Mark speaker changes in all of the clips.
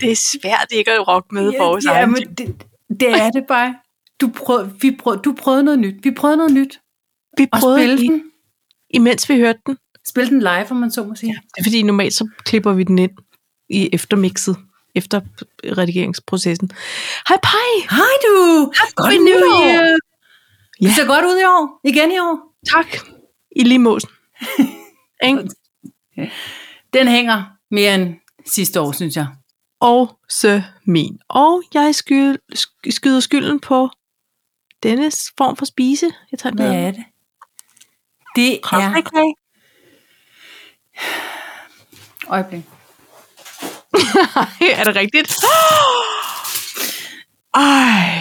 Speaker 1: det er svært ikke at rocke med vores
Speaker 2: ja,
Speaker 1: egen
Speaker 2: men
Speaker 1: ting.
Speaker 2: det, det er det bare. Du prøvede, vi prøvede, du prøvede noget nyt. Vi prøvede noget nyt.
Speaker 1: Vi
Speaker 2: Og
Speaker 1: prøvede
Speaker 2: spille
Speaker 1: den,
Speaker 2: den.
Speaker 1: imens vi hørte den.
Speaker 2: Spille den live, om man så må sige.
Speaker 1: Det er fordi, normalt så klipper vi den ind i eftermixet, efter redigeringsprocessen. Hej, pej!
Speaker 2: Hej du!
Speaker 1: Godt nytår!
Speaker 2: Ja.
Speaker 1: Ja.
Speaker 2: Det ser godt ud i år. Igen i år.
Speaker 1: Tak. I lige måsen. Ikke?
Speaker 2: Den hænger mere end sidste år, synes jeg.
Speaker 1: og så min. Og jeg skyld, sk- skyder skylden på denne form for spise. Jeg tager med.
Speaker 2: Hvad er det? Det er...
Speaker 1: Kaffe-kage.
Speaker 2: Øjeblik.
Speaker 1: er det rigtigt? Ej,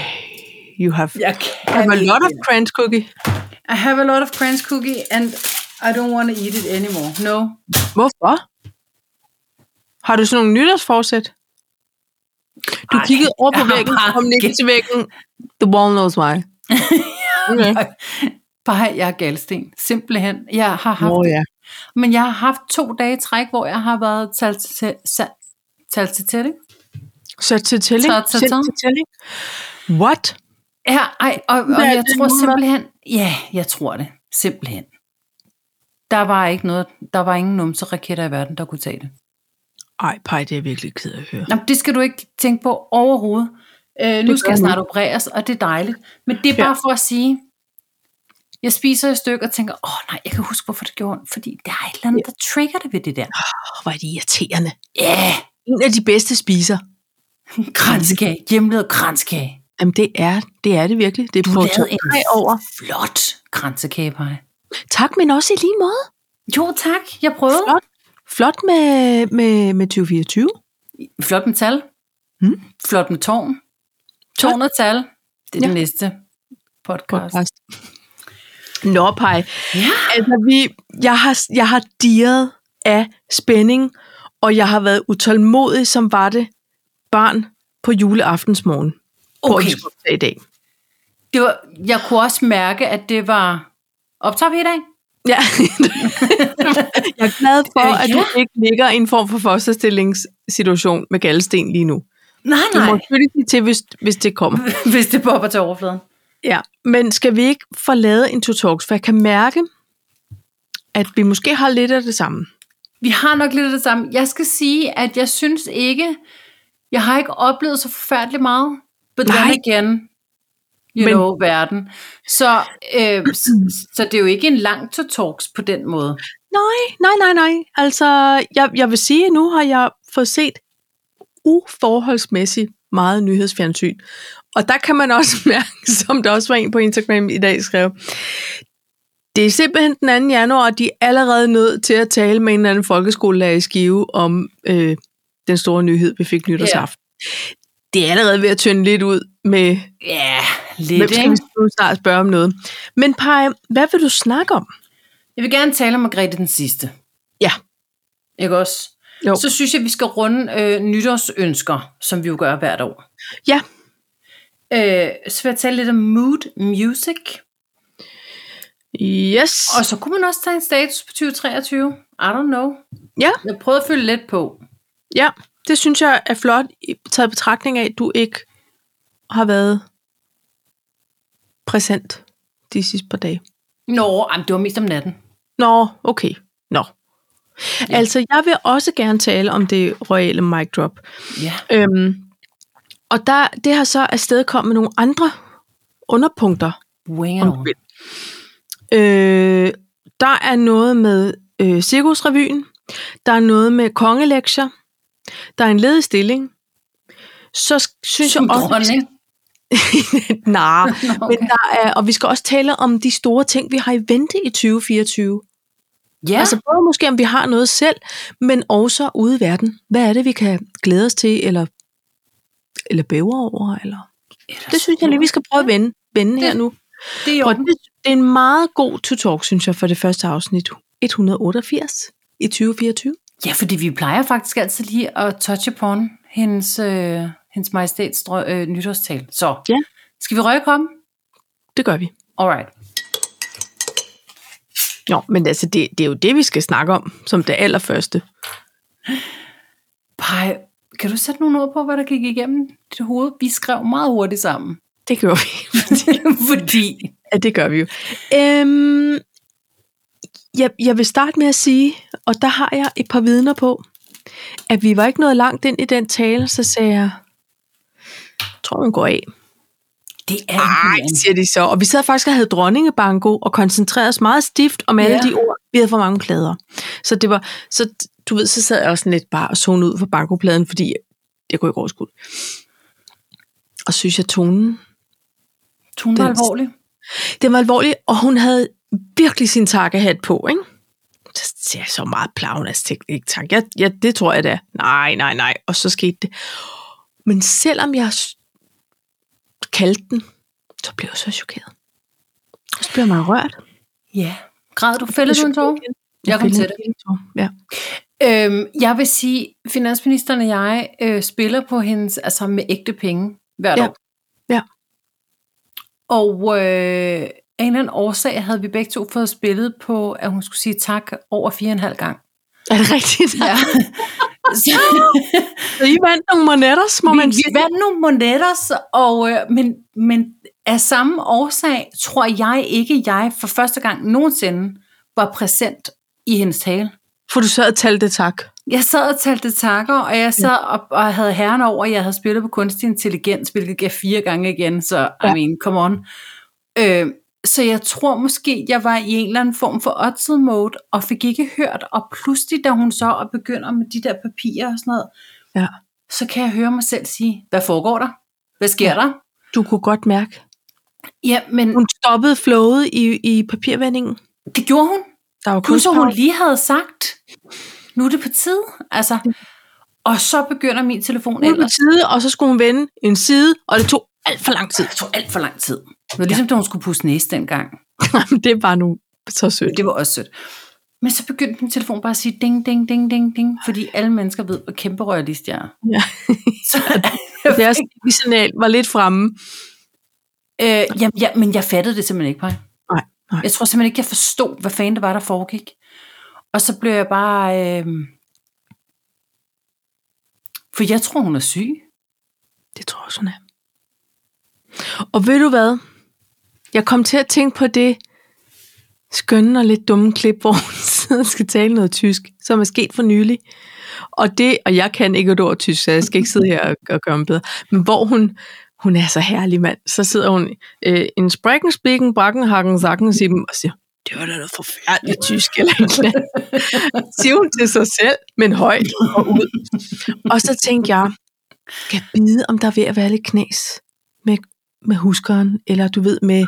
Speaker 1: you have,
Speaker 2: Jeg
Speaker 1: you have
Speaker 2: kan
Speaker 1: a lot of
Speaker 2: ikke.
Speaker 1: crunch cookie.
Speaker 2: I have a lot of crunch cookie, and I don't want to eat it anymore. No.
Speaker 1: Hvorfor? Har du sådan nogle nytårsforsæt? Du
Speaker 2: Ej,
Speaker 1: kiggede over på
Speaker 2: jeg har
Speaker 1: væggen,
Speaker 2: bare-
Speaker 1: kom ikke til væggen. The wall knows why. Okay.
Speaker 2: Bare jeg er galsten. Simpelthen. Jeg har haft,
Speaker 1: Nå ja.
Speaker 2: men jeg har haft to dage i træk, hvor jeg har været talt til talt til tæt, ikke?
Speaker 1: Så til tælling.
Speaker 2: Så til tælling.
Speaker 1: til tælling. What?
Speaker 2: Ja, ej, og, og
Speaker 1: Hvad er
Speaker 2: jeg
Speaker 1: det
Speaker 2: tror
Speaker 1: nu, hvad?
Speaker 2: simpelthen, ja, jeg tror det, simpelthen. Der var ikke noget, der var ingen numseraketter i verden, der kunne tage det.
Speaker 1: Ej, Paj, det er jeg virkelig ked af at høre.
Speaker 2: Nå, men det skal du ikke tænke på overhovedet. Øh, nu
Speaker 1: gør
Speaker 2: skal jeg
Speaker 1: jeg
Speaker 2: snart opereres, og det er dejligt. Men det er
Speaker 1: Ja.
Speaker 2: bare for at sige, jeg spiser et stykke og tænker, åh nej, jeg kan huske, hvorfor det gjorde ondt, fordi der er et eller andet, der trigger det ved det der.
Speaker 1: Åh, hvor er det irriterende.
Speaker 2: Ja,
Speaker 1: En af de bedste spiser.
Speaker 2: yeah, kranskage, hjemmelavet kranskage.
Speaker 1: Jamen, det er det, er det virkelig. Det er
Speaker 2: Du
Speaker 1: på
Speaker 2: lavede en
Speaker 1: over.
Speaker 2: flot kransekagepej.
Speaker 1: Tak, men også i lige måde.
Speaker 2: Jo tak, jeg prøvede.
Speaker 1: Flot. Flot med, med, med 2024.
Speaker 2: Flot med tal.
Speaker 1: Mm.
Speaker 2: Flot med tårn. Tårn og tal. Det er ja.
Speaker 1: Ja.
Speaker 2: den næste podcast. podcast.
Speaker 1: Podcast. Nå, Paj.
Speaker 2: Ja.
Speaker 1: Altså, vi, jeg, har, jeg har dirret af spænding, og jeg har været utålmodig, som var det barn på juleaftensmorgen. På, at
Speaker 2: Okay.
Speaker 1: vi skulle optage i dag.
Speaker 2: Det var, jeg kunne også mærke, at det var... Optager vi i dag?
Speaker 1: Ja. jeg er glad for,
Speaker 2: Øh,
Speaker 1: at
Speaker 2: ja.
Speaker 1: du ikke ligger i en form for fosterstillingssituation med galdesten lige nu.
Speaker 2: Nej,
Speaker 1: Du må selvfølgelig sige til, hvis, hvis det kommer.
Speaker 2: Hvis det popper til overfladen.
Speaker 1: Ja, men skal vi ikke få lavet en to talks? For jeg kan mærke, at vi måske har lidt af det samme.
Speaker 2: Vi har nok lidt af det samme. Jeg skal sige, at jeg synes ikke... Jeg har ikke oplevet så forfærdeligt meget. But Nej.
Speaker 1: Nej.
Speaker 2: then again, you
Speaker 1: Men-
Speaker 2: Men. know, verden. Så, øh, s- så det er jo ikke en lang to talks på den måde.
Speaker 1: Nej, nej, nej, nej. Altså, jeg, jeg vil sige, at nu har jeg fået set uforholdsmæssigt meget nyhedsfjernsyn. Og der kan man også mærke, som der også var en på Instagram i dag skrev, det er simpelthen den 2. januar, og de er allerede nødt til at tale med en eller anden folkeskolelærer i Skive om øh, den store nyhed, vi fik nytårsaften. Det er allerede ved at tynde lidt ud med
Speaker 2: Ja,
Speaker 1: Hvem
Speaker 2: lidt,
Speaker 1: skal
Speaker 2: ikke?
Speaker 1: vi nu snart spørge om noget? Men Paj, hvad vil du snakke om?
Speaker 2: Jeg vil gerne tale om Margrethe den sidste.
Speaker 1: Ja.
Speaker 2: Ikke også?
Speaker 1: Jo.
Speaker 2: Så synes jeg, vi skal runde øh, nytårsønsker, som vi jo gør hvert år.
Speaker 1: Ja.
Speaker 2: Øh, så vil jeg tale lidt om mood music.
Speaker 1: Yes.
Speaker 2: Og så kunne man også tage en status på 2023. I don't know.
Speaker 1: Ja.
Speaker 2: Jeg prøvede at følge lidt på.
Speaker 1: Ja, det synes jeg er flot, i- taget i betragtning af, at du ikke har været præsent de sidste par dage.
Speaker 2: Nå, jamen, det var mest om natten.
Speaker 1: Nå, okay. Nå.
Speaker 2: Ja.
Speaker 1: Ja. Altså, jeg vil også gerne tale om det royale mic drop.
Speaker 2: Ja.
Speaker 1: Øhm, og der, det har så afstedkommet nogle andre underpunkter
Speaker 2: Wing
Speaker 1: om
Speaker 2: on.
Speaker 1: du vil. Øh, der er noget med øh, cirkusrevyen, der er noget med kongelektier, der er en ledig stilling. Så sk- synes
Speaker 2: Som
Speaker 1: jeg også... vi
Speaker 2: dronning.
Speaker 1: skal- Nej, okay.
Speaker 2: Nå,
Speaker 1: men der er, og vi skal også tale om de store ting, vi har i vente i 2024.
Speaker 2: Ja,
Speaker 1: Ja.
Speaker 2: altså,
Speaker 1: Altså både måske, om vi har noget selv, men også ude i verden. Hvad er det, vi kan glæde os til, eller, eller bæve over? Eller? Det synes jeg lige, vi skal prøve at vende, vende her nu.
Speaker 2: det er jo
Speaker 1: Og det, det er en meget god to-talk, synes jeg, for det første afsnit 188 i 2024.
Speaker 2: Ja, fordi vi plejer faktisk altid lige at touch upon hendes, øh, hendes majestæts drø- øh, nytårstal. Så
Speaker 1: Ja.
Speaker 2: skal vi rykke om?
Speaker 1: Det gør vi.
Speaker 2: Alright.
Speaker 1: Jo, men altså, det, det er jo det, vi skal snakke om som det allerførste.
Speaker 2: Pej, Kan du sætte nogle ord på, hvad der gik igennem dit hoved? Vi skrev meget hurtigt sammen.
Speaker 1: Det gjorde vi.
Speaker 2: Fordi...
Speaker 1: Ja, det gør vi jo. Øhm, jeg, jeg vil starte med at sige, og der har jeg et par vidner på, at vi var ikke nået langt ind i den tale, så sagde jeg, "Jeg tror hun går af.
Speaker 2: Det er
Speaker 1: Ej,
Speaker 2: imponerende.
Speaker 1: siger de så. Og vi sad faktisk og havde dronningebanko og koncentrerede os meget stift om alle
Speaker 2: Ja.
Speaker 1: ja. de ord. Vi havde for mange plader. Så det var, så du ved, så sad jeg også sådan lidt bare og zone ud for bankopladen, fordi jeg kunne ikke overskue det. Og synes jeg, tonen
Speaker 2: Hun var
Speaker 1: Den-
Speaker 2: alvorlig.
Speaker 1: den var alvorlig, og hun havde virkelig sin takkehat på, ikke? Så siger jeg så meget plavn, altså tænkte jeg ikke tak. Jeg, jeg, det tror jeg da. Nej, nej, nej. Og så skete det. Men selvom jeg s- kaldte den, så blev jeg så chokeret. Og så blev jeg meget rørt.
Speaker 2: Ja. Græd du fældet du en tår? Jeg kom
Speaker 1: fik
Speaker 2: til
Speaker 1: en
Speaker 2: det.
Speaker 1: lille tår, Ja.
Speaker 2: Øhm, jeg vil sige, finansministeren og jeg øh, spiller på hendes, altså med ægte penge hvert
Speaker 1: Ja.
Speaker 2: år.
Speaker 1: Ja.
Speaker 2: Og øh, af en eller anden årsag havde vi begge to fået spillet på, at hun skulle sige tak over fire og en halv gang.
Speaker 1: Er det rigtigt? Ja.
Speaker 2: Så,
Speaker 1: Så I vandt nogle monetter, må
Speaker 2: vi,
Speaker 1: man
Speaker 2: vi
Speaker 1: sige.
Speaker 2: vandt nogle monetters, og, øh, men, men af samme årsag tror jeg ikke, jeg for første gang nogensinde var præsent i hendes tale.
Speaker 1: For du sad og talte tak.
Speaker 2: Jeg sad og talte takker, og jeg sad
Speaker 1: Mm.
Speaker 2: og, og havde herren over, at jeg havde spillet på kunstig intelligens, hvilket gav fire gange igen, så I
Speaker 1: Ja.
Speaker 2: mean, come on. Øh, så jeg tror måske, jeg var i en eller anden form for oddset mode, og fik ikke hørt, og pludselig, da hun så og begynder med de der papirer og sådan noget,
Speaker 1: Ja.
Speaker 2: så kan jeg høre mig selv sige, hvad foregår der? Hvad sker ja. der?
Speaker 1: Du kunne godt mærke.
Speaker 2: Ja, men
Speaker 1: Hun stoppede flowet i, i papirvendingen.
Speaker 2: det gjorde hun.
Speaker 1: Der var kun
Speaker 2: Plus, at hun lige havde sagt, nu er det på tide. Altså, og så begynder min telefon
Speaker 1: ud på
Speaker 2: ellers.
Speaker 1: side, og så skulle hun vende en side, og det tog alt for lang tid.
Speaker 2: Det tog alt for lang tid. Det var ligesom, ja. da hun skulle pusse næse dengang.
Speaker 1: det var nu så sødt.
Speaker 2: Det var også sødt. Men så begyndte min telefon bare at sige ding, ding, ding, ding, ding, fordi alle mennesker ved, hvor kæmpe royalist jeg er.
Speaker 1: Ja.
Speaker 2: Så,
Speaker 1: Deres signal var lidt fremme.
Speaker 2: øh, jamen, ja, men jeg fattede det simpelthen ikke, Paj.
Speaker 1: Nej, nej.
Speaker 2: Jeg tror simpelthen ikke, jeg forstod, hvad fanden det var, der foregik. Og så blev jeg bare... Øh... For jeg tror, hun er syg.
Speaker 1: Det tror jeg også, hun er. Og ved du hvad? Jeg kom til at tænke på det skønne og lidt dumme klip, hvor hun sidder og skal tale noget tysk, som er sket for nylig. Og det, og jeg kan ikke et ord tysk, så jeg skal ikke sidde her og, og gøre mig bedre. Men hvor hun, hun er så herlig mand, så sidder hun øh, en sprækken, spikken, brakken, hakken, sakken, siger dem, og siger, det var da noget forfærdeligt tysk, eller et eller andet. Siger hun til sig selv, men højt og ud. Og så tænkte jeg, skal bide, om der er ved at være lidt knas med, med huskeren, eller du ved med...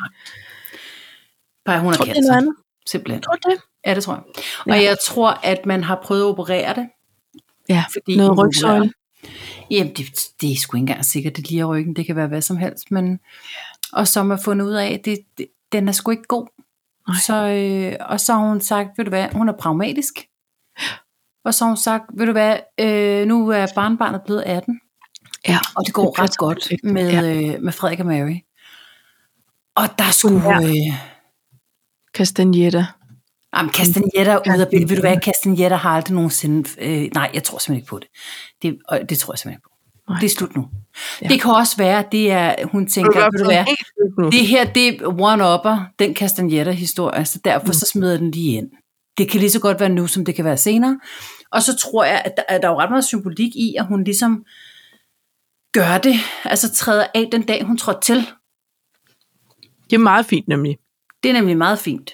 Speaker 2: Paj, hun er
Speaker 1: Tror du, det er noget
Speaker 2: cancer.
Speaker 1: andet?
Speaker 2: Simpelthen.
Speaker 1: Tror du det?
Speaker 2: Ja, det tror jeg. Og
Speaker 1: Ja.
Speaker 2: jeg tror, at man har prøvet at operere det.
Speaker 1: Ja,
Speaker 2: Fordi
Speaker 1: noget
Speaker 2: hun er
Speaker 1: rygsøjle.
Speaker 2: Jamen, det, det er sgu ikke engang sikkert, det lige er ryggen. Det kan være hvad som helst. Men, og som har fundet ud af, at det, det, den er sgu ikke god.
Speaker 1: Nej.
Speaker 2: Så, øh, og så har hun sagt, ved du hvad, hun er pragmatisk. Og så har hun sagt, ved du hvad, øh, nu er barnbarnet blevet 18.
Speaker 1: Ja.
Speaker 2: Og det går
Speaker 1: Det
Speaker 2: det
Speaker 1: passer
Speaker 2: ret godt
Speaker 1: perfekt,
Speaker 2: med, ja. øh, med Frederik og Mary. Og der skulle...
Speaker 1: Ja.
Speaker 2: Øh,
Speaker 1: Castagnetta.
Speaker 2: Jamen, Castanjetta er ude af billedet. Ved du hvad, Castanjetta har aldrig nogensinde... Øh, nej, jeg tror simpelthen ikke på det. Det, og det tror jeg simpelthen ikke på.
Speaker 1: Nej.
Speaker 2: Det er slut nu.
Speaker 1: Ja.
Speaker 2: Ja. Det kan også være, at det er, hun tænker, ved du hvad,
Speaker 1: Det,
Speaker 2: det her, det er one-upper, den Castanjetta-historie, så derfor så smider jeg den lige ind. Det kan lige så godt være nu, som det kan være senere. Og så tror jeg, at der, at der er jo ret meget symbolik i, at hun ligesom gør det, altså træder af den dag, hun trådte til.
Speaker 1: det er meget fint nemlig.
Speaker 2: Det er nemlig meget fint.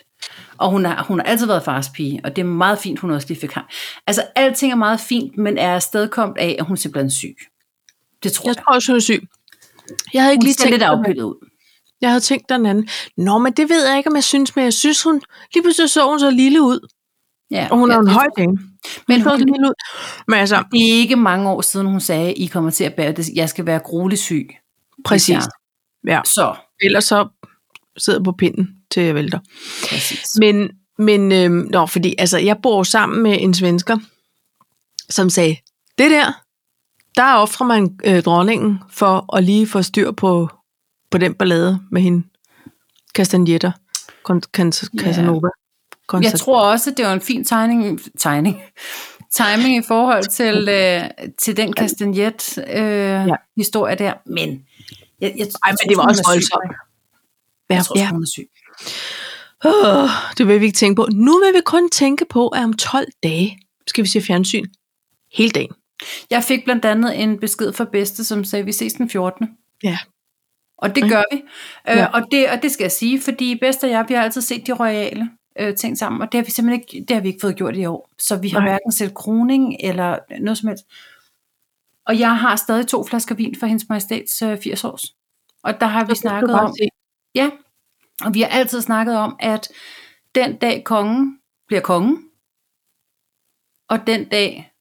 Speaker 2: Og hun har, hun har altid været fars pige, og det er meget fint, hun også lige fik ham. Altså, alting er meget fint, men er afstedkomt af, at hun simpelthen er syg. Det tror
Speaker 1: Jeg
Speaker 2: jeg.
Speaker 1: tror også, hun er syg. Jeg havde ikke
Speaker 2: Hun
Speaker 1: lige
Speaker 2: ser
Speaker 1: tænkt
Speaker 2: lidt
Speaker 1: på det.
Speaker 2: afpillet ud.
Speaker 1: Jeg havde tænkt den anden. Nå, men det ved jeg ikke, om jeg synes, men jeg synes, hun... Lige pludselig så hun så lille ud.
Speaker 2: Ja,
Speaker 1: Og hun er
Speaker 2: ja,
Speaker 1: jo en
Speaker 2: det-
Speaker 1: høj dame.
Speaker 2: Men
Speaker 1: Hun så
Speaker 2: hun,
Speaker 1: lille ud. Men altså,
Speaker 2: det er ikke mange år siden, hun sagde, I kommer til at bære det. Jeg skal være gruelig syg.
Speaker 1: præcis. Ja.
Speaker 2: Så,
Speaker 1: Ellers så sidder jeg på pinden, til jeg vælter.
Speaker 2: præcis.
Speaker 1: Men, men øhm, nå, fordi altså, jeg bor jo sammen med en svensker, som sagde, det der, der offrer man øh, dronningen for at lige få styr på, på den ballade med hende. Castagnetta. Con- Can- Casanova.
Speaker 2: Jeg tror også, at det var en fin tegning, tegning. timing i forhold til, øh, til den Castagnet-historie
Speaker 1: Ja.
Speaker 2: øh, ja. historie der. Men, jeg, jeg,
Speaker 1: Ej, men det var også voldsomt.
Speaker 2: Ja,
Speaker 1: Ja,
Speaker 2: jeg tror, ja.
Speaker 1: ja.
Speaker 2: hun er syg.
Speaker 1: Oh, det vil vi ikke tænke på. Nu vil vi kun tænke på, at om 12 dage skal vi se fjernsyn. Hele dagen.
Speaker 2: Jeg fik blandt andet en besked fra bedste, som sagde, vi ses den 14.
Speaker 1: Ja.
Speaker 2: Og det
Speaker 1: Ja.
Speaker 2: gør vi.
Speaker 1: Ja.
Speaker 2: Ja. Øh, og, det, og det skal jeg sige, fordi bedste og jeg, vi har altid set de royale øh, ting sammen, og det har vi simpelthen ikke, det har vi ikke fået gjort i år. Så vi har
Speaker 1: Nej.
Speaker 2: hverken set kroning eller noget som helst. Og jeg har stadig to flasker vin for hendes majestæts øh, 80 års. Og der har vi snakket om, Ja, og vi har altid snakket om, at den dag kongen bliver kongen, og den dag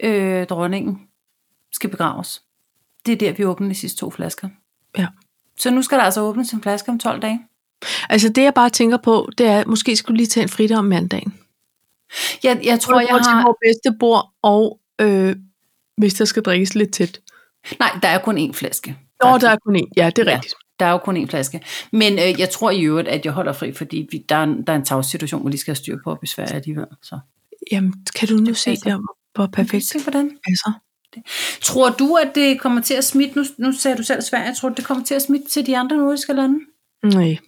Speaker 2: øh, dronningen skal begraves. Det er der, vi åbner de sidste to flasker.
Speaker 1: Ja.
Speaker 2: Så nu skal der altså åbnes en flaske om 12 dage.
Speaker 1: Altså det, jeg bare tænker på, det er, at måske skulle lige tage en fridag om mandagen.
Speaker 2: Jeg, jeg tror, jeg
Speaker 1: Til
Speaker 2: har...
Speaker 1: vores bedste bord, og øh, hvis der skal drikkes lidt tæt.
Speaker 2: Nej, der er kun én flaske.
Speaker 1: Nå, der er kun en. Ja, det er
Speaker 2: Ja.
Speaker 1: rigtigt.
Speaker 2: Der er jo kun én flaske. Men øh, jeg tror i øvrigt, at jeg holder fri, fordi vi, der, er, en- der er en tavs situation, hvor lige skal have styr på op i Sverige alligevel. Så.
Speaker 1: Jamen, kan du nu se
Speaker 2: passer.
Speaker 1: det om, hvor perfekt
Speaker 2: Se, hvordan
Speaker 1: det passer?
Speaker 2: Tror du, at det kommer til at smitte, nu, nu sagde du selv Sverige, tror du, det kommer til at smitte til de andre nordiske lande?
Speaker 1: Nej.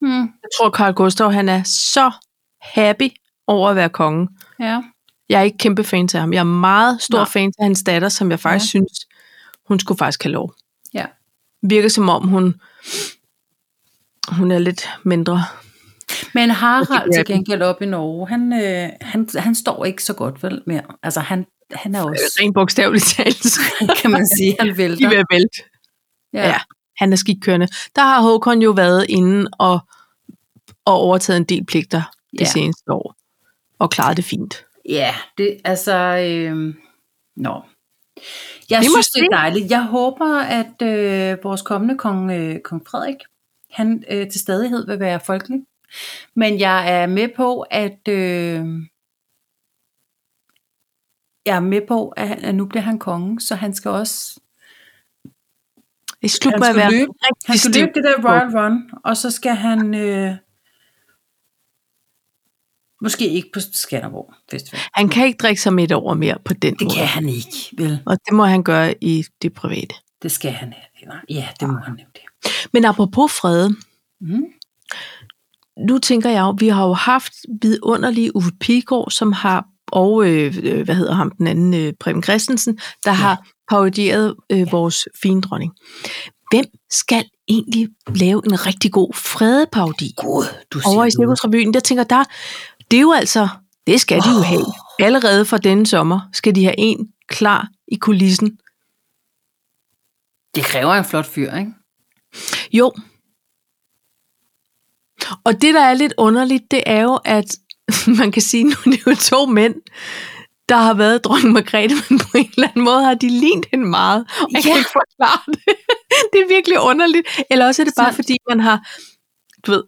Speaker 2: Mm,
Speaker 1: Jeg tror, Carl Gustav, han er så happy over at være konge.
Speaker 2: ja.
Speaker 1: Jeg er ikke kæmpe fan til ham. Jeg er meget stor
Speaker 2: Nej.
Speaker 1: fan af hans datter, som jeg faktisk ja. synes, hun skulle faktisk have lov.
Speaker 2: ja.
Speaker 1: Virker som om, hun, hun er lidt mindre.
Speaker 2: Men
Speaker 1: Måske
Speaker 2: Harald til
Speaker 1: Japan.
Speaker 2: gengæld op i Norge, han, øh, han, han står ikke så godt vel mere. Altså han, han er også,
Speaker 1: Rent bogstaveligt talt.
Speaker 2: kan man sige, han
Speaker 1: De er ved
Speaker 2: vælter.
Speaker 1: at vælte. ja. Han er skidkørende. Der har Håkon jo været inde og, og overtaget en del pligter det
Speaker 2: Ja.
Speaker 1: seneste år. Og klaret det fint.
Speaker 2: Ja, det altså... Øh, nå. Jeg
Speaker 1: Vi må
Speaker 2: synes, det
Speaker 1: se.
Speaker 2: er dejligt. Jeg håber, at øh, vores kommende kong, øh, kong Frederik, han øh, til stadighed vil være folkelig. Men jeg er med på, at... Øh, jeg er med på, at, han- at nu bliver han konge, så han skal også...
Speaker 1: Det er slut
Speaker 2: Han
Speaker 1: med at
Speaker 2: skal
Speaker 1: være
Speaker 2: løbe.
Speaker 1: rigtig
Speaker 2: Han skal
Speaker 1: stiv.
Speaker 2: løbe det der Royal Run, og så skal han... Øh, måske ikke på Skanderborg Festival.
Speaker 1: Han kan ikke drikke sig midt over mere på den
Speaker 2: Det
Speaker 1: måde.
Speaker 2: kan han ikke, vel?
Speaker 1: Og det må han gøre i det private.
Speaker 2: Det skal han. Nej, ja, det må han nemlig.
Speaker 1: Men apropos fred,
Speaker 2: Mm.
Speaker 1: nu tænker jeg jo, vi har jo haft vidunderlige Uffe Pigård, som har, og øh, øh, hvad hedder ham, den anden, øh, Preben Christensen, der ja. har parodieret øh, vores fine dronning. Hvem skal egentlig lave en rigtig god fredeparodi?
Speaker 2: God, du
Speaker 1: Over i
Speaker 2: noget.
Speaker 1: Cirkusrevyen, der tænker der, det er jo altså, det skal de jo
Speaker 2: Åh.
Speaker 1: have. Allerede fra denne sommer skal de have en klar i kulissen.
Speaker 2: Det kræver en flot fyr, ikke?
Speaker 1: Jo. Og det, der er lidt underligt, det er jo, at man kan sige, nu er det jo to mænd, der har været dronning Margrethe, men på en eller anden måde har de lignet hende meget. Og jeg ja. kan
Speaker 2: Ja.
Speaker 1: ikke forklare det. Det er virkelig underligt. Eller også er det bare,
Speaker 2: Sandt.
Speaker 1: fordi man har, du ved,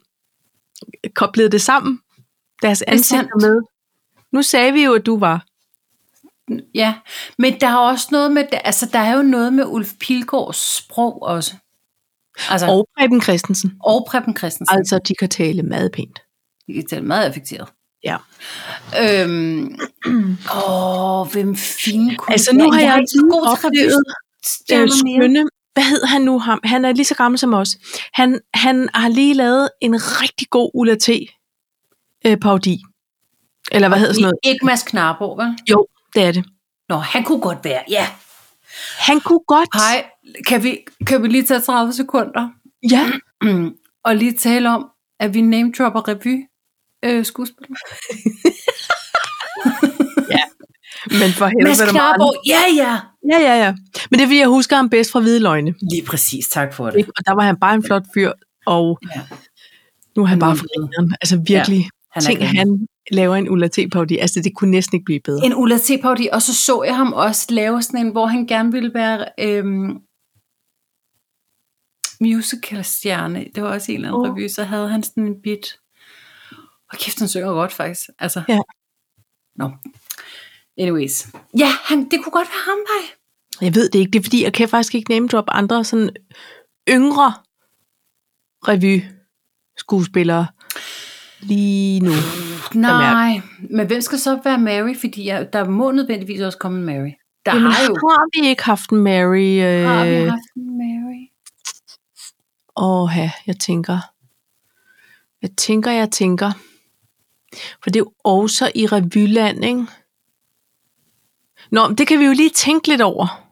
Speaker 1: koblet det sammen. Deres
Speaker 2: er
Speaker 1: ansigter
Speaker 2: sandt.
Speaker 1: med. Nu sagde vi jo, at du var.
Speaker 2: Ja, men der er også noget med, altså der er jo noget med Ulf Pilgaards sprog også. Altså, og,
Speaker 1: Og Preben Christensen.
Speaker 2: og Preben Christensen. Altså,
Speaker 1: Altså, de kan tale meget pænt.
Speaker 2: det er tale meget affekteret.
Speaker 1: Ja.
Speaker 2: Øhm, åh, hvem fint kunne
Speaker 1: Altså,
Speaker 2: det
Speaker 1: nu
Speaker 2: være?
Speaker 1: har jeg,
Speaker 2: er
Speaker 1: jeg
Speaker 2: ikke så god til
Speaker 1: oplevet øh,
Speaker 2: revystjerner mere.
Speaker 1: skønne, hvad hed han nu ham? Han er lige så gammel som os. Han, han har lige lavet en rigtig god Ulla T. Øh, parodi. Eller hvad hedder sådan noget?
Speaker 2: Ikke Mads Knarborg, vel?
Speaker 1: Jo, det er det.
Speaker 2: Nå, han kunne godt være, ja.
Speaker 1: Han kunne godt.
Speaker 2: Hej, kan vi, kan vi lige tage 30 sekunder?
Speaker 1: Ja,
Speaker 2: Mm. og lige tale om, at vi name-dropper revy øh, skuespillere.
Speaker 1: men for helvede. er der meget andet.
Speaker 2: ja, ja.
Speaker 1: Ja, ja, ja. Men det er fordi, jeg husker ham bedst fra Hvide Løgne.
Speaker 2: Lige præcis, tak for det.
Speaker 1: Ikke? Og der var han bare en flot fyr, og
Speaker 2: Ja.
Speaker 1: nu er han
Speaker 2: Han
Speaker 1: bare
Speaker 2: er
Speaker 1: for
Speaker 2: blevet-
Speaker 1: grineren. Altså virkelig, ja,
Speaker 2: Han er
Speaker 1: tænk,
Speaker 2: grineren.
Speaker 1: han laver en Ulla T-parodi. Altså, det kunne næsten ikke blive bedre.
Speaker 2: En Ulla T. parodi, og så så jeg ham også lave sådan en, hvor han gerne ville være øhm, musicalstjerne. Det var også en eller anden
Speaker 1: Åh.
Speaker 2: oh. revy, så havde han sådan en bit. Og kæft, han synger godt faktisk. Altså.
Speaker 1: Ja.
Speaker 2: Nå. Anyways. Ja, han, det kunne godt være ham, hej.
Speaker 1: Jeg ved det ikke. Det er fordi, jeg kan faktisk ikke name drop andre sådan yngre revy skuespillere. lige nu.
Speaker 2: Nej, men hvem skal så være Mary? Fordi jeg, der må nødvendigvis også komme en Mary. Der
Speaker 1: Jamen,
Speaker 2: har jo
Speaker 1: har vi ikke haft en Mary? Øh,
Speaker 2: har vi haft en Mary.
Speaker 1: Åh, jeg tænker. Jeg tænker, jeg tænker. For det er jo også i revyland, ikke? Nå, men det kan vi jo lige tænke lidt over.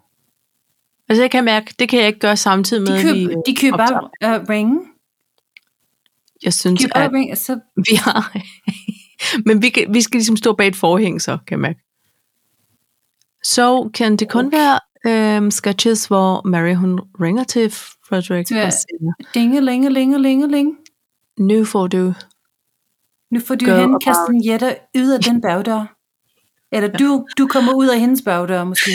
Speaker 1: Altså, jeg kan mærke, det kan jeg ikke gøre samtidig
Speaker 2: De
Speaker 1: med, at vi...
Speaker 2: køber, de køber bare uh, ringe.
Speaker 1: Jeg synes,
Speaker 2: Køber
Speaker 1: at
Speaker 2: bare ringe, og så
Speaker 1: vi har... Men vi, kan, vi skal ligesom stå bag et forhæng, så kan jeg mærke. Så kan det kun være øhm, sketches, hvor Mary hun ringer til Frederik
Speaker 2: Ja.
Speaker 1: og siger,
Speaker 2: dinge, linge, linge, linge, linge.
Speaker 1: nu får du
Speaker 2: Nu får du
Speaker 1: Go
Speaker 2: hende
Speaker 1: about
Speaker 2: kasten jætter ud af den bagdør. Eller du, du kommer ud af hendes bagdør, måske.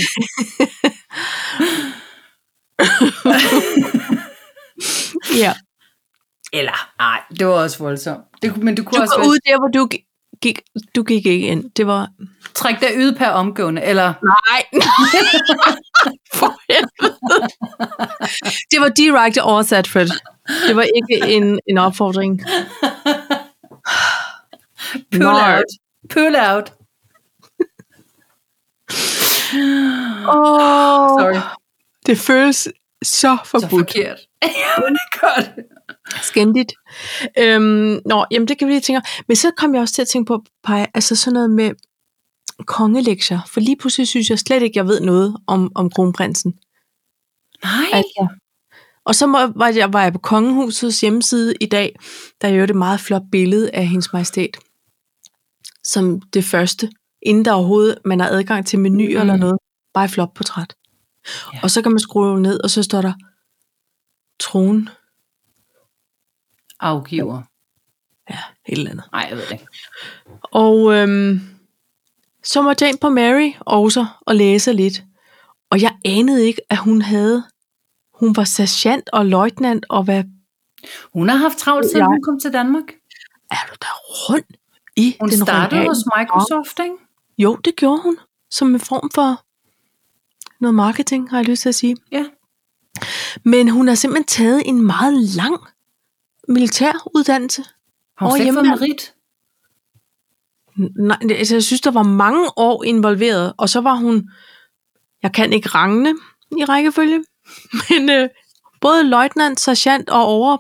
Speaker 1: Ja.
Speaker 2: Eller, nej, det var også voldsomt. Det, kunne- men du kunne
Speaker 1: Du
Speaker 2: også
Speaker 1: går
Speaker 2: være,
Speaker 1: ud der, hvor du gi- gik, du gik ikke ind. Det var...
Speaker 2: trække dig ud per omgående, eller
Speaker 1: Nej! For helvede. det var direkte oversat, Fred. Det var ikke en, en opfordring.
Speaker 2: pull
Speaker 1: Lord.
Speaker 2: out. Pull out.
Speaker 1: Oh,
Speaker 2: Sorry,
Speaker 1: Det føles så
Speaker 2: så
Speaker 1: forbudt. Så
Speaker 2: forkert. ja, men det gør det.
Speaker 1: Skændigt. Øhm, nå, jamen det kan vi lige tænke om. Men så kom jeg også til at tænke på, Paj, altså sådan noget med kongelektier. For lige pludselig synes jeg slet ikke, jeg ved noget om, om kronprinsen.
Speaker 2: Nej.
Speaker 1: Altså. Og så må- var jeg, var jeg på Kongehusets hjemmeside i dag, der er jo et meget flot billede af hendes majestæt. Som det første, inden der overhovedet man har adgang til menuer mm. eller noget. Bare et flot portræt.
Speaker 2: Ja.
Speaker 1: Ja. Og så kan man skrue ned, og så står der tronen,
Speaker 2: Afgiver.
Speaker 1: et eller andet.
Speaker 2: Nej, jeg ved det ikke.
Speaker 1: Og øhm, så måtte jeg ind på Mary også og læse lidt. Og jeg anede ikke, at hun havde... Hun var sergeant og løjtnant og hvad
Speaker 2: Hun har haft travlt, siden
Speaker 1: Jeg-
Speaker 2: hun kom til Danmark.
Speaker 1: er du der rundt i
Speaker 2: Hun
Speaker 1: den
Speaker 2: startede
Speaker 1: royale?
Speaker 2: hos Microsoft, ikke?
Speaker 1: Jo, det gjorde hun. Som en form for noget marketing, har jeg lyst til at sige.
Speaker 2: Ja.
Speaker 1: Men hun har simpelthen taget en meget lang militæruddannelse.
Speaker 2: Har hun
Speaker 1: Åh,
Speaker 2: slet ikke fået
Speaker 1: hjemme-
Speaker 2: merit?
Speaker 1: N- Nej, det- altså, jeg synes, der var mange år involveret, og så var hun, jeg kan ikke rangne i rækkefølge, men øh, både løjtnant, sergeant og over,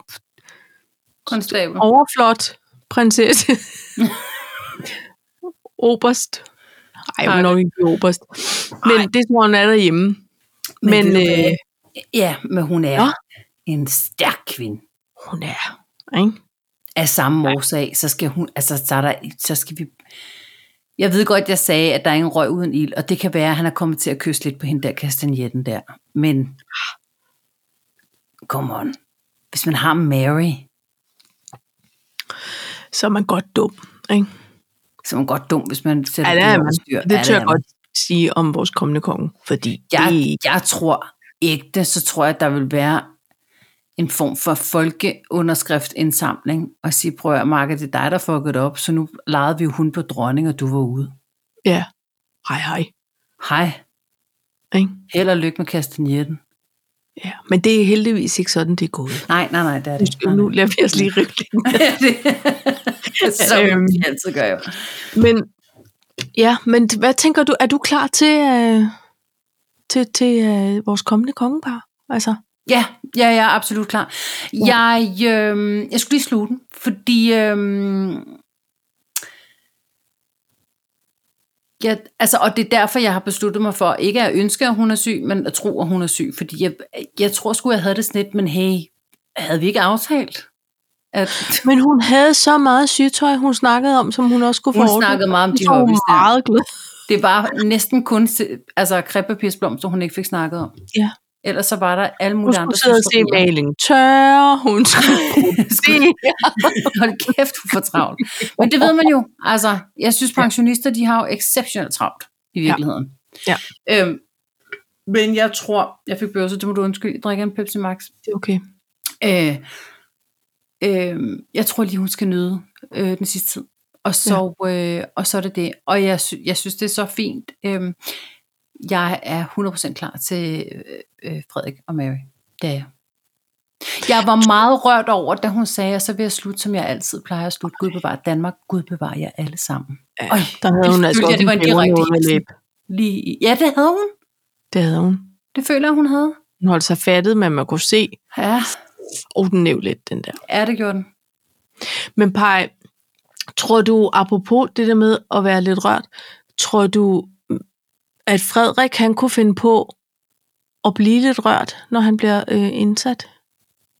Speaker 2: Konstabel.
Speaker 1: overflot prinsesse. oberst. Ej, hun
Speaker 2: Ej.
Speaker 1: er nok ikke oberst. Men
Speaker 2: Ej.
Speaker 1: det tror hun er derhjemme.
Speaker 2: Men
Speaker 1: Men,
Speaker 2: ved du hvad?
Speaker 1: øh,
Speaker 2: Ja, men hun er
Speaker 1: Nå.
Speaker 2: en stærk kvinde.
Speaker 1: hun er, ikke?
Speaker 2: Af samme årsag, så skal hun, altså, så, er der, så skal vi... Jeg ved godt, jeg sagde, at der er ingen røg uden ild, og det kan være, at han er kommet til at kysse lidt på hende der kastanjetten der. Men, come on. Hvis man har Mary,
Speaker 1: Så er man godt dum, ikke?
Speaker 2: så er man godt dum, hvis man sætter
Speaker 1: Ja, det er
Speaker 2: over
Speaker 1: man.
Speaker 2: styr. Ja,
Speaker 1: Det tør
Speaker 2: er
Speaker 1: jeg
Speaker 2: man.
Speaker 1: godt sige om vores kommende konge, fordi
Speaker 2: Jeg,
Speaker 1: det,
Speaker 2: jeg tror ægte, så tror jeg, at der vil være en form for folkeunderskriftindsamling, og sige, prøv at Marke, det er dig, der fuckede op, så nu legede vi jo hun på dronning, og du var ude.
Speaker 1: ja, hej hej,
Speaker 2: Hej,
Speaker 1: ikke?
Speaker 2: held og lykke med kastanjetten.
Speaker 1: Ja, men det er heldigvis ikke sådan, det er gået.
Speaker 2: Nej, nej, nej, det er det. Nej,
Speaker 1: Nu
Speaker 2: nej.
Speaker 1: lader vi os lige rive lidt
Speaker 2: det som
Speaker 1: Øhm.
Speaker 2: vi altid gør jo.
Speaker 1: Men, ja, men hvad tænker du, er du klar til, øh, til, til øh, vores kommende kongepar? Altså,
Speaker 2: Ja, ja, jeg er absolut klar.
Speaker 1: Ja.
Speaker 2: Jeg, øh, jeg skulle lige sluge den, fordi... Øh, jeg, altså, og det er derfor, jeg har besluttet mig for ikke at ønske, at hun er syg, men at tro, at hun er syg. Fordi jeg, jeg tror sgu, jeg havde det sådan lidt, men hey, havde vi ikke aftalt? At
Speaker 1: men hun havde så meget sygtøj, hun snakkede om, som hun også skulle
Speaker 2: hun
Speaker 1: få ordnet.
Speaker 2: snakkede meget om de
Speaker 1: Så var hun
Speaker 2: hobbys der.
Speaker 1: meget glad.
Speaker 2: Det var næsten kun se- altså, krebpapirsblomster, hun ikke fik snakket om.
Speaker 1: Ja.
Speaker 2: Ellers så var der alle
Speaker 1: Hun
Speaker 2: mulige andre.
Speaker 1: skulle sidde og se
Speaker 2: synsforbrugere.
Speaker 1: malingen tørre, hun skulle se...
Speaker 2: Hold kæft, du får travlt. Men det ved man jo. Altså, jeg synes, pensionister, de har jo exceptionelt travlt i virkeligheden.
Speaker 1: Ja.
Speaker 2: Øhm, men jeg tror, jeg fik bøvse, det må du undskylde, jeg drikker en Pepsi Max.
Speaker 1: Det er okay.
Speaker 2: Øh, øh, jeg tror lige, hun skal nyde øh, den sidste tid. Og så, ja. øh, og så er det det. Og jeg, sy- jeg synes, det er så fint. Øh, jeg er 100% klar til øh, øh, Frederik og Mary. Det er jeg. Jeg var meget rørt over, da hun sagde, at så vil jeg slutte, som jeg altid plejer at slutte. Gud bevare Danmark, Gud bevare jer alle sammen.
Speaker 1: Ja,
Speaker 2: Øj,
Speaker 1: der havde hun
Speaker 2: det
Speaker 1: altså
Speaker 2: følte jeg,
Speaker 1: også
Speaker 2: det var en direkte hilsen.
Speaker 1: overlæb.
Speaker 2: Lige, i- ja, det havde hun.
Speaker 1: Det havde hun.
Speaker 2: Det føler jeg, hun havde.
Speaker 1: Hun holdt sig fattet, men man kunne se,
Speaker 2: Ja,
Speaker 1: og den næv lidt, den der.
Speaker 2: ja det gjorde den.
Speaker 1: Men Paj, tror du, apropos det der med at være lidt rørt, tror du, at Frederik han kunne finde på at blive lidt rørt, når han bliver øh, indsat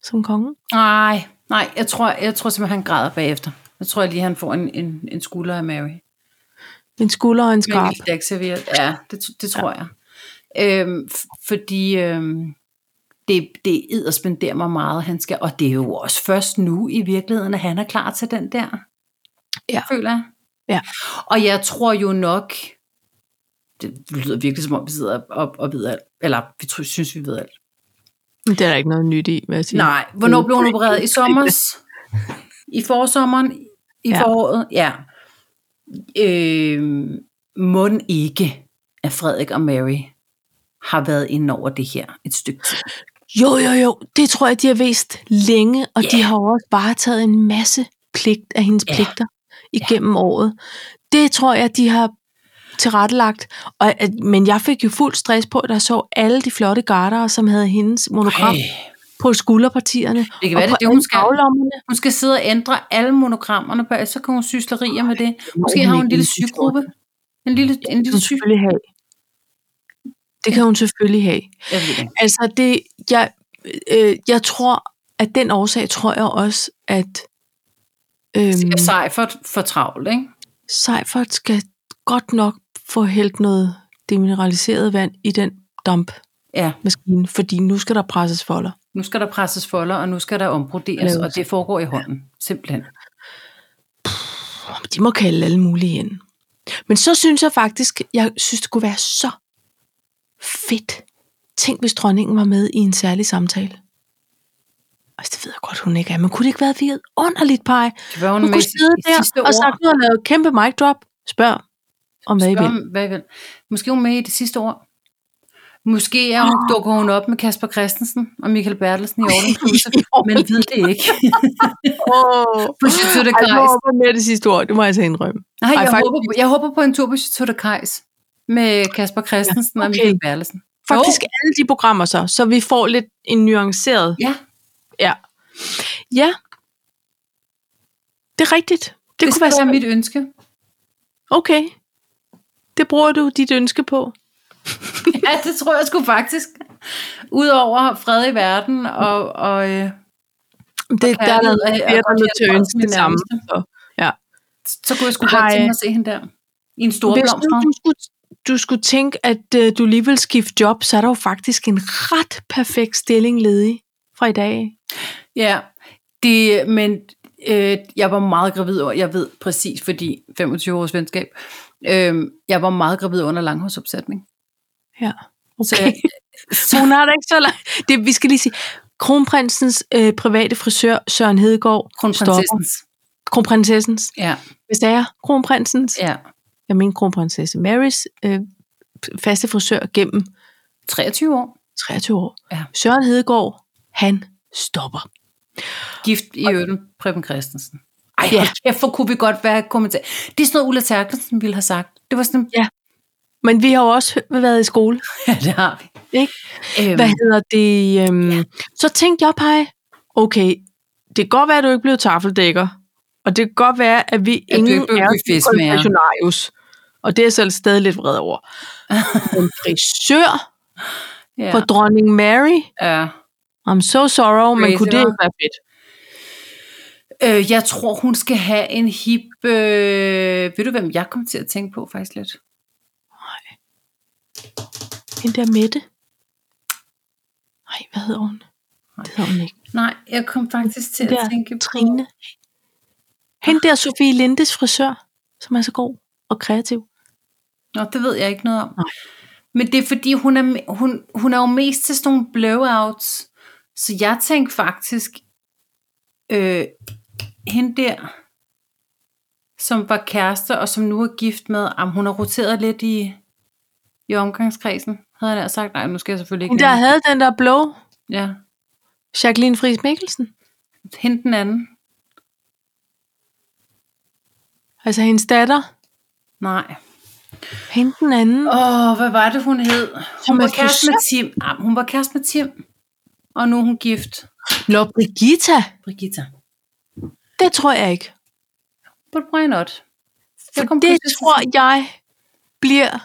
Speaker 1: som konge?
Speaker 2: Nej, nej, jeg tror, jeg tror simpelthen, han græder bagefter. Jeg tror lige, han får en, en, en skulder af Mary.
Speaker 1: En skulder og en
Speaker 2: Med en
Speaker 1: skrab.
Speaker 2: lille dækserviet. Ja, det, det tror jeg. Øhm, f- fordi øhm, det, det edderspenderer mig meget, han skal. Og det er jo også først nu i virkeligheden, at han er klar til den der.
Speaker 1: Ja.
Speaker 2: Føler jeg.
Speaker 1: Ja.
Speaker 2: Og jeg tror jo nok, det lyder virkelig som om, vi sidder og, og ved alt. Eller vi tr- synes, vi ved alt.
Speaker 1: Men Det er der ikke noget nyt i, vil jeg sige.
Speaker 2: Nej, hvornår blev hun opereret? I sommer? I forsommeren? I
Speaker 1: Ja.
Speaker 2: ja. foråret? Ja. Øh, må ikke, at Frederik og Mary har været inde over det her et stykke tid.
Speaker 1: Jo, jo, jo. Det tror jeg, de har vist længe, og yeah. de
Speaker 2: Ja.
Speaker 1: har jo også varetaget en masse pligt af hendes
Speaker 2: Ja.
Speaker 1: yeah. pligter igennem yeah. året. Det tror jeg, de har tilrettelagt. Og, at, men jeg fik jo fuld stress på, da jeg så alle de flotte gardere, som havde hendes monogram Ej. på skulderpartierne.
Speaker 2: Det kan
Speaker 1: og
Speaker 2: være, det
Speaker 1: på
Speaker 2: er det, hun
Speaker 1: alle
Speaker 2: skal.
Speaker 1: baglommerne.
Speaker 2: Hun skal sidde og ændre alle monogrammerne, på, så kan hun syslerier med det. Måske
Speaker 1: hun
Speaker 2: har
Speaker 1: ikke
Speaker 2: hun en lille
Speaker 1: en t-skjorte.
Speaker 2: sygegruppe. En lille, en
Speaker 1: Det kan
Speaker 2: lille
Speaker 1: hun
Speaker 2: syg...
Speaker 1: selvfølgelig have. Det kan hun selvfølgelig have.
Speaker 2: Jeg ved det ikke.
Speaker 1: Altså, det, jeg, øh, jeg tror, at den årsag tror jeg også, at...
Speaker 2: Det
Speaker 1: Øhm,
Speaker 2: er sej for, for travlt, ikke?
Speaker 1: Seifert skal godt nok få hældt noget demineraliseret vand i den dampmaskine,
Speaker 2: Ja,
Speaker 1: fordi nu skal der presses folder.
Speaker 2: nu skal der presses folder, og nu skal der ombroderes,
Speaker 1: Laves.
Speaker 2: og det foregår i hånden, simpelthen.
Speaker 1: De må kalde alle mulige ind. Men så synes jeg faktisk, jeg synes, det kunne være så fedt. Tænk, hvis dronningen var med i en særlig samtale. Altså, det ved jeg godt, hun ikke er, men kunne det ikke være vidunderligt, Paj?
Speaker 2: Det var
Speaker 1: Hun
Speaker 2: hun, med
Speaker 1: kunne
Speaker 2: i
Speaker 1: sidde
Speaker 2: sit sidste
Speaker 1: der og
Speaker 2: ord.
Speaker 1: sagt, nu har jeg lavet et kæmpe mic drop. Spørg om, hvad I
Speaker 2: Spørg
Speaker 1: vil.
Speaker 2: om, hvad I vil. Måske er hun med i det sidste år. Måske er hun,
Speaker 1: Ah.
Speaker 2: dukker hun op med Kasper Christensen og Michael Bertelsen i Aarhus Huse, men ved det ikke.
Speaker 1: Åh,
Speaker 2: På Chateau de
Speaker 1: Ej, jeg
Speaker 2: Kajs.
Speaker 1: håber med det sidste ord, det må jeg så indrømme.
Speaker 2: Nej, jeg,
Speaker 1: faktisk
Speaker 2: håber, på- jeg håber på en tur på Chateau de Kajs med Kasper Christensen
Speaker 1: Ja,
Speaker 2: og
Speaker 1: okay.
Speaker 2: Michael Bertelsen.
Speaker 1: Faktisk alle de programmer så, så vi får lidt en nuanceret.
Speaker 2: Ja,
Speaker 1: Ja. Ja. Det er rigtigt. Det,
Speaker 2: det, det
Speaker 1: kunne
Speaker 2: skulle
Speaker 1: være
Speaker 2: være
Speaker 1: sådan.
Speaker 2: mit ønske.
Speaker 1: Okay. Det bruger du dit ønske på.
Speaker 2: Ja, det tror jeg sgu faktisk. Udover fred i verden og, og øh,
Speaker 1: Det, der er
Speaker 2: kærlighed
Speaker 1: noget,
Speaker 2: og-
Speaker 1: der er
Speaker 2: og
Speaker 1: noget til at
Speaker 2: kærlighed
Speaker 1: ønske
Speaker 2: til
Speaker 1: det
Speaker 2: de
Speaker 1: samme.
Speaker 2: nærmeste.
Speaker 1: Så, ja.
Speaker 2: så kunne jeg sgu godt
Speaker 1: Ej.
Speaker 2: tænke mig at se hende der. I en stor
Speaker 1: Hvis
Speaker 2: blomst.
Speaker 1: nu du skulle, du skulle tænke, at øh, du lige vil skifte job, så er der jo faktisk en ret perfekt stilling ledig fra i dag.
Speaker 2: Ja, det, men øh, jeg var meget gravid over, jeg ved præcis, fordi 25 års venskab, øh, jeg var meget gravid under langhårsopsætning.
Speaker 1: Ja.
Speaker 2: Så
Speaker 1: Okay.
Speaker 2: jeg,
Speaker 1: Så hun har da ikke så langt. Det, vi skal lige sige, kronprinsens øh, private frisør, Søren Hedegaard, stopper.
Speaker 2: kronprinsessens.
Speaker 1: Kronprinsessens.
Speaker 2: Ja,
Speaker 1: Hvis det er kronprinsens, ja.
Speaker 2: ja.
Speaker 1: jeg mener kronprinsesse Marys øh, faste frisør gennem
Speaker 2: 23 år.
Speaker 1: 23 år.
Speaker 2: Ja.
Speaker 1: Søren Hedegaard, han stopper.
Speaker 2: Gift i øvrigt med Preben Christensen. Ej,
Speaker 1: Ja.
Speaker 2: ja. kæft, hvor kunne vi godt være kommentar. Det er sådan noget, Ulla Terkelsen ville have sagt. Det var sådan,
Speaker 1: Men vi har jo også været i skole,
Speaker 2: ja, det har vi.
Speaker 1: ikke?
Speaker 2: Øhm,
Speaker 1: Hvad hedder det? Øhm, ja. Så tænkte jeg, Paj, okay, det kan godt være, at du ikke blev tafeldækker, og det kan godt være, at vi
Speaker 2: At du
Speaker 1: ingen
Speaker 2: ikke blev
Speaker 1: er
Speaker 2: buffetsmager.
Speaker 1: konfessionarius. Og det er jeg selv stadig lidt vred over. En frisør
Speaker 2: ja,
Speaker 1: for dronning Mary?
Speaker 2: ja.
Speaker 1: I'm so sorry, men
Speaker 2: Crazy,
Speaker 1: kunne det
Speaker 2: hva'?
Speaker 1: ikke være fedt?
Speaker 2: Øh, jeg tror, hun skal have en hip... Øh, ved du, hvem jeg kom til at tænke på faktisk lidt?
Speaker 1: Hende der Mette. Nej, hvad hedder hun? Det hedder hun ikke.
Speaker 2: Nej, jeg kom faktisk til
Speaker 1: Hende
Speaker 2: at
Speaker 1: der
Speaker 2: tænke
Speaker 1: Trine.
Speaker 2: på...
Speaker 1: Hende der Sofie Lindes frisør, som er så god og kreativ.
Speaker 2: Nå, det ved jeg ikke noget om.
Speaker 1: Nej.
Speaker 2: Men det er fordi, hun er, hun, hun er jo mest til sådan nogle blowouts. Så jeg tænkte faktisk, øh, hende der, som var kæreste og som nu er gift med, om hun har roteret lidt i, i omgangskredsen, havde jeg nær sagt. Nej, nu skal jeg selvfølgelig ikke
Speaker 1: Hende der
Speaker 2: nævne-
Speaker 1: havde den der blå.
Speaker 2: Ja.
Speaker 1: Jacqueline Friis Mikkelsen?
Speaker 2: Hente den anden.
Speaker 1: Altså hendes datter?
Speaker 2: Nej.
Speaker 1: Hende den anden?
Speaker 2: Åh, oh, hvad var det, hun hed? Hun var
Speaker 1: Thomas
Speaker 2: kæreste
Speaker 1: Fischer?
Speaker 2: med Tim. Ah, hun var kæreste med Tim. Og nu er hun gift.
Speaker 1: Nå, Brigitta?
Speaker 2: Brigitta.
Speaker 1: Det tror jeg ikke.
Speaker 2: But why not?
Speaker 1: For
Speaker 2: Jeg kom
Speaker 1: det
Speaker 2: pludselig-
Speaker 1: tror jeg bliver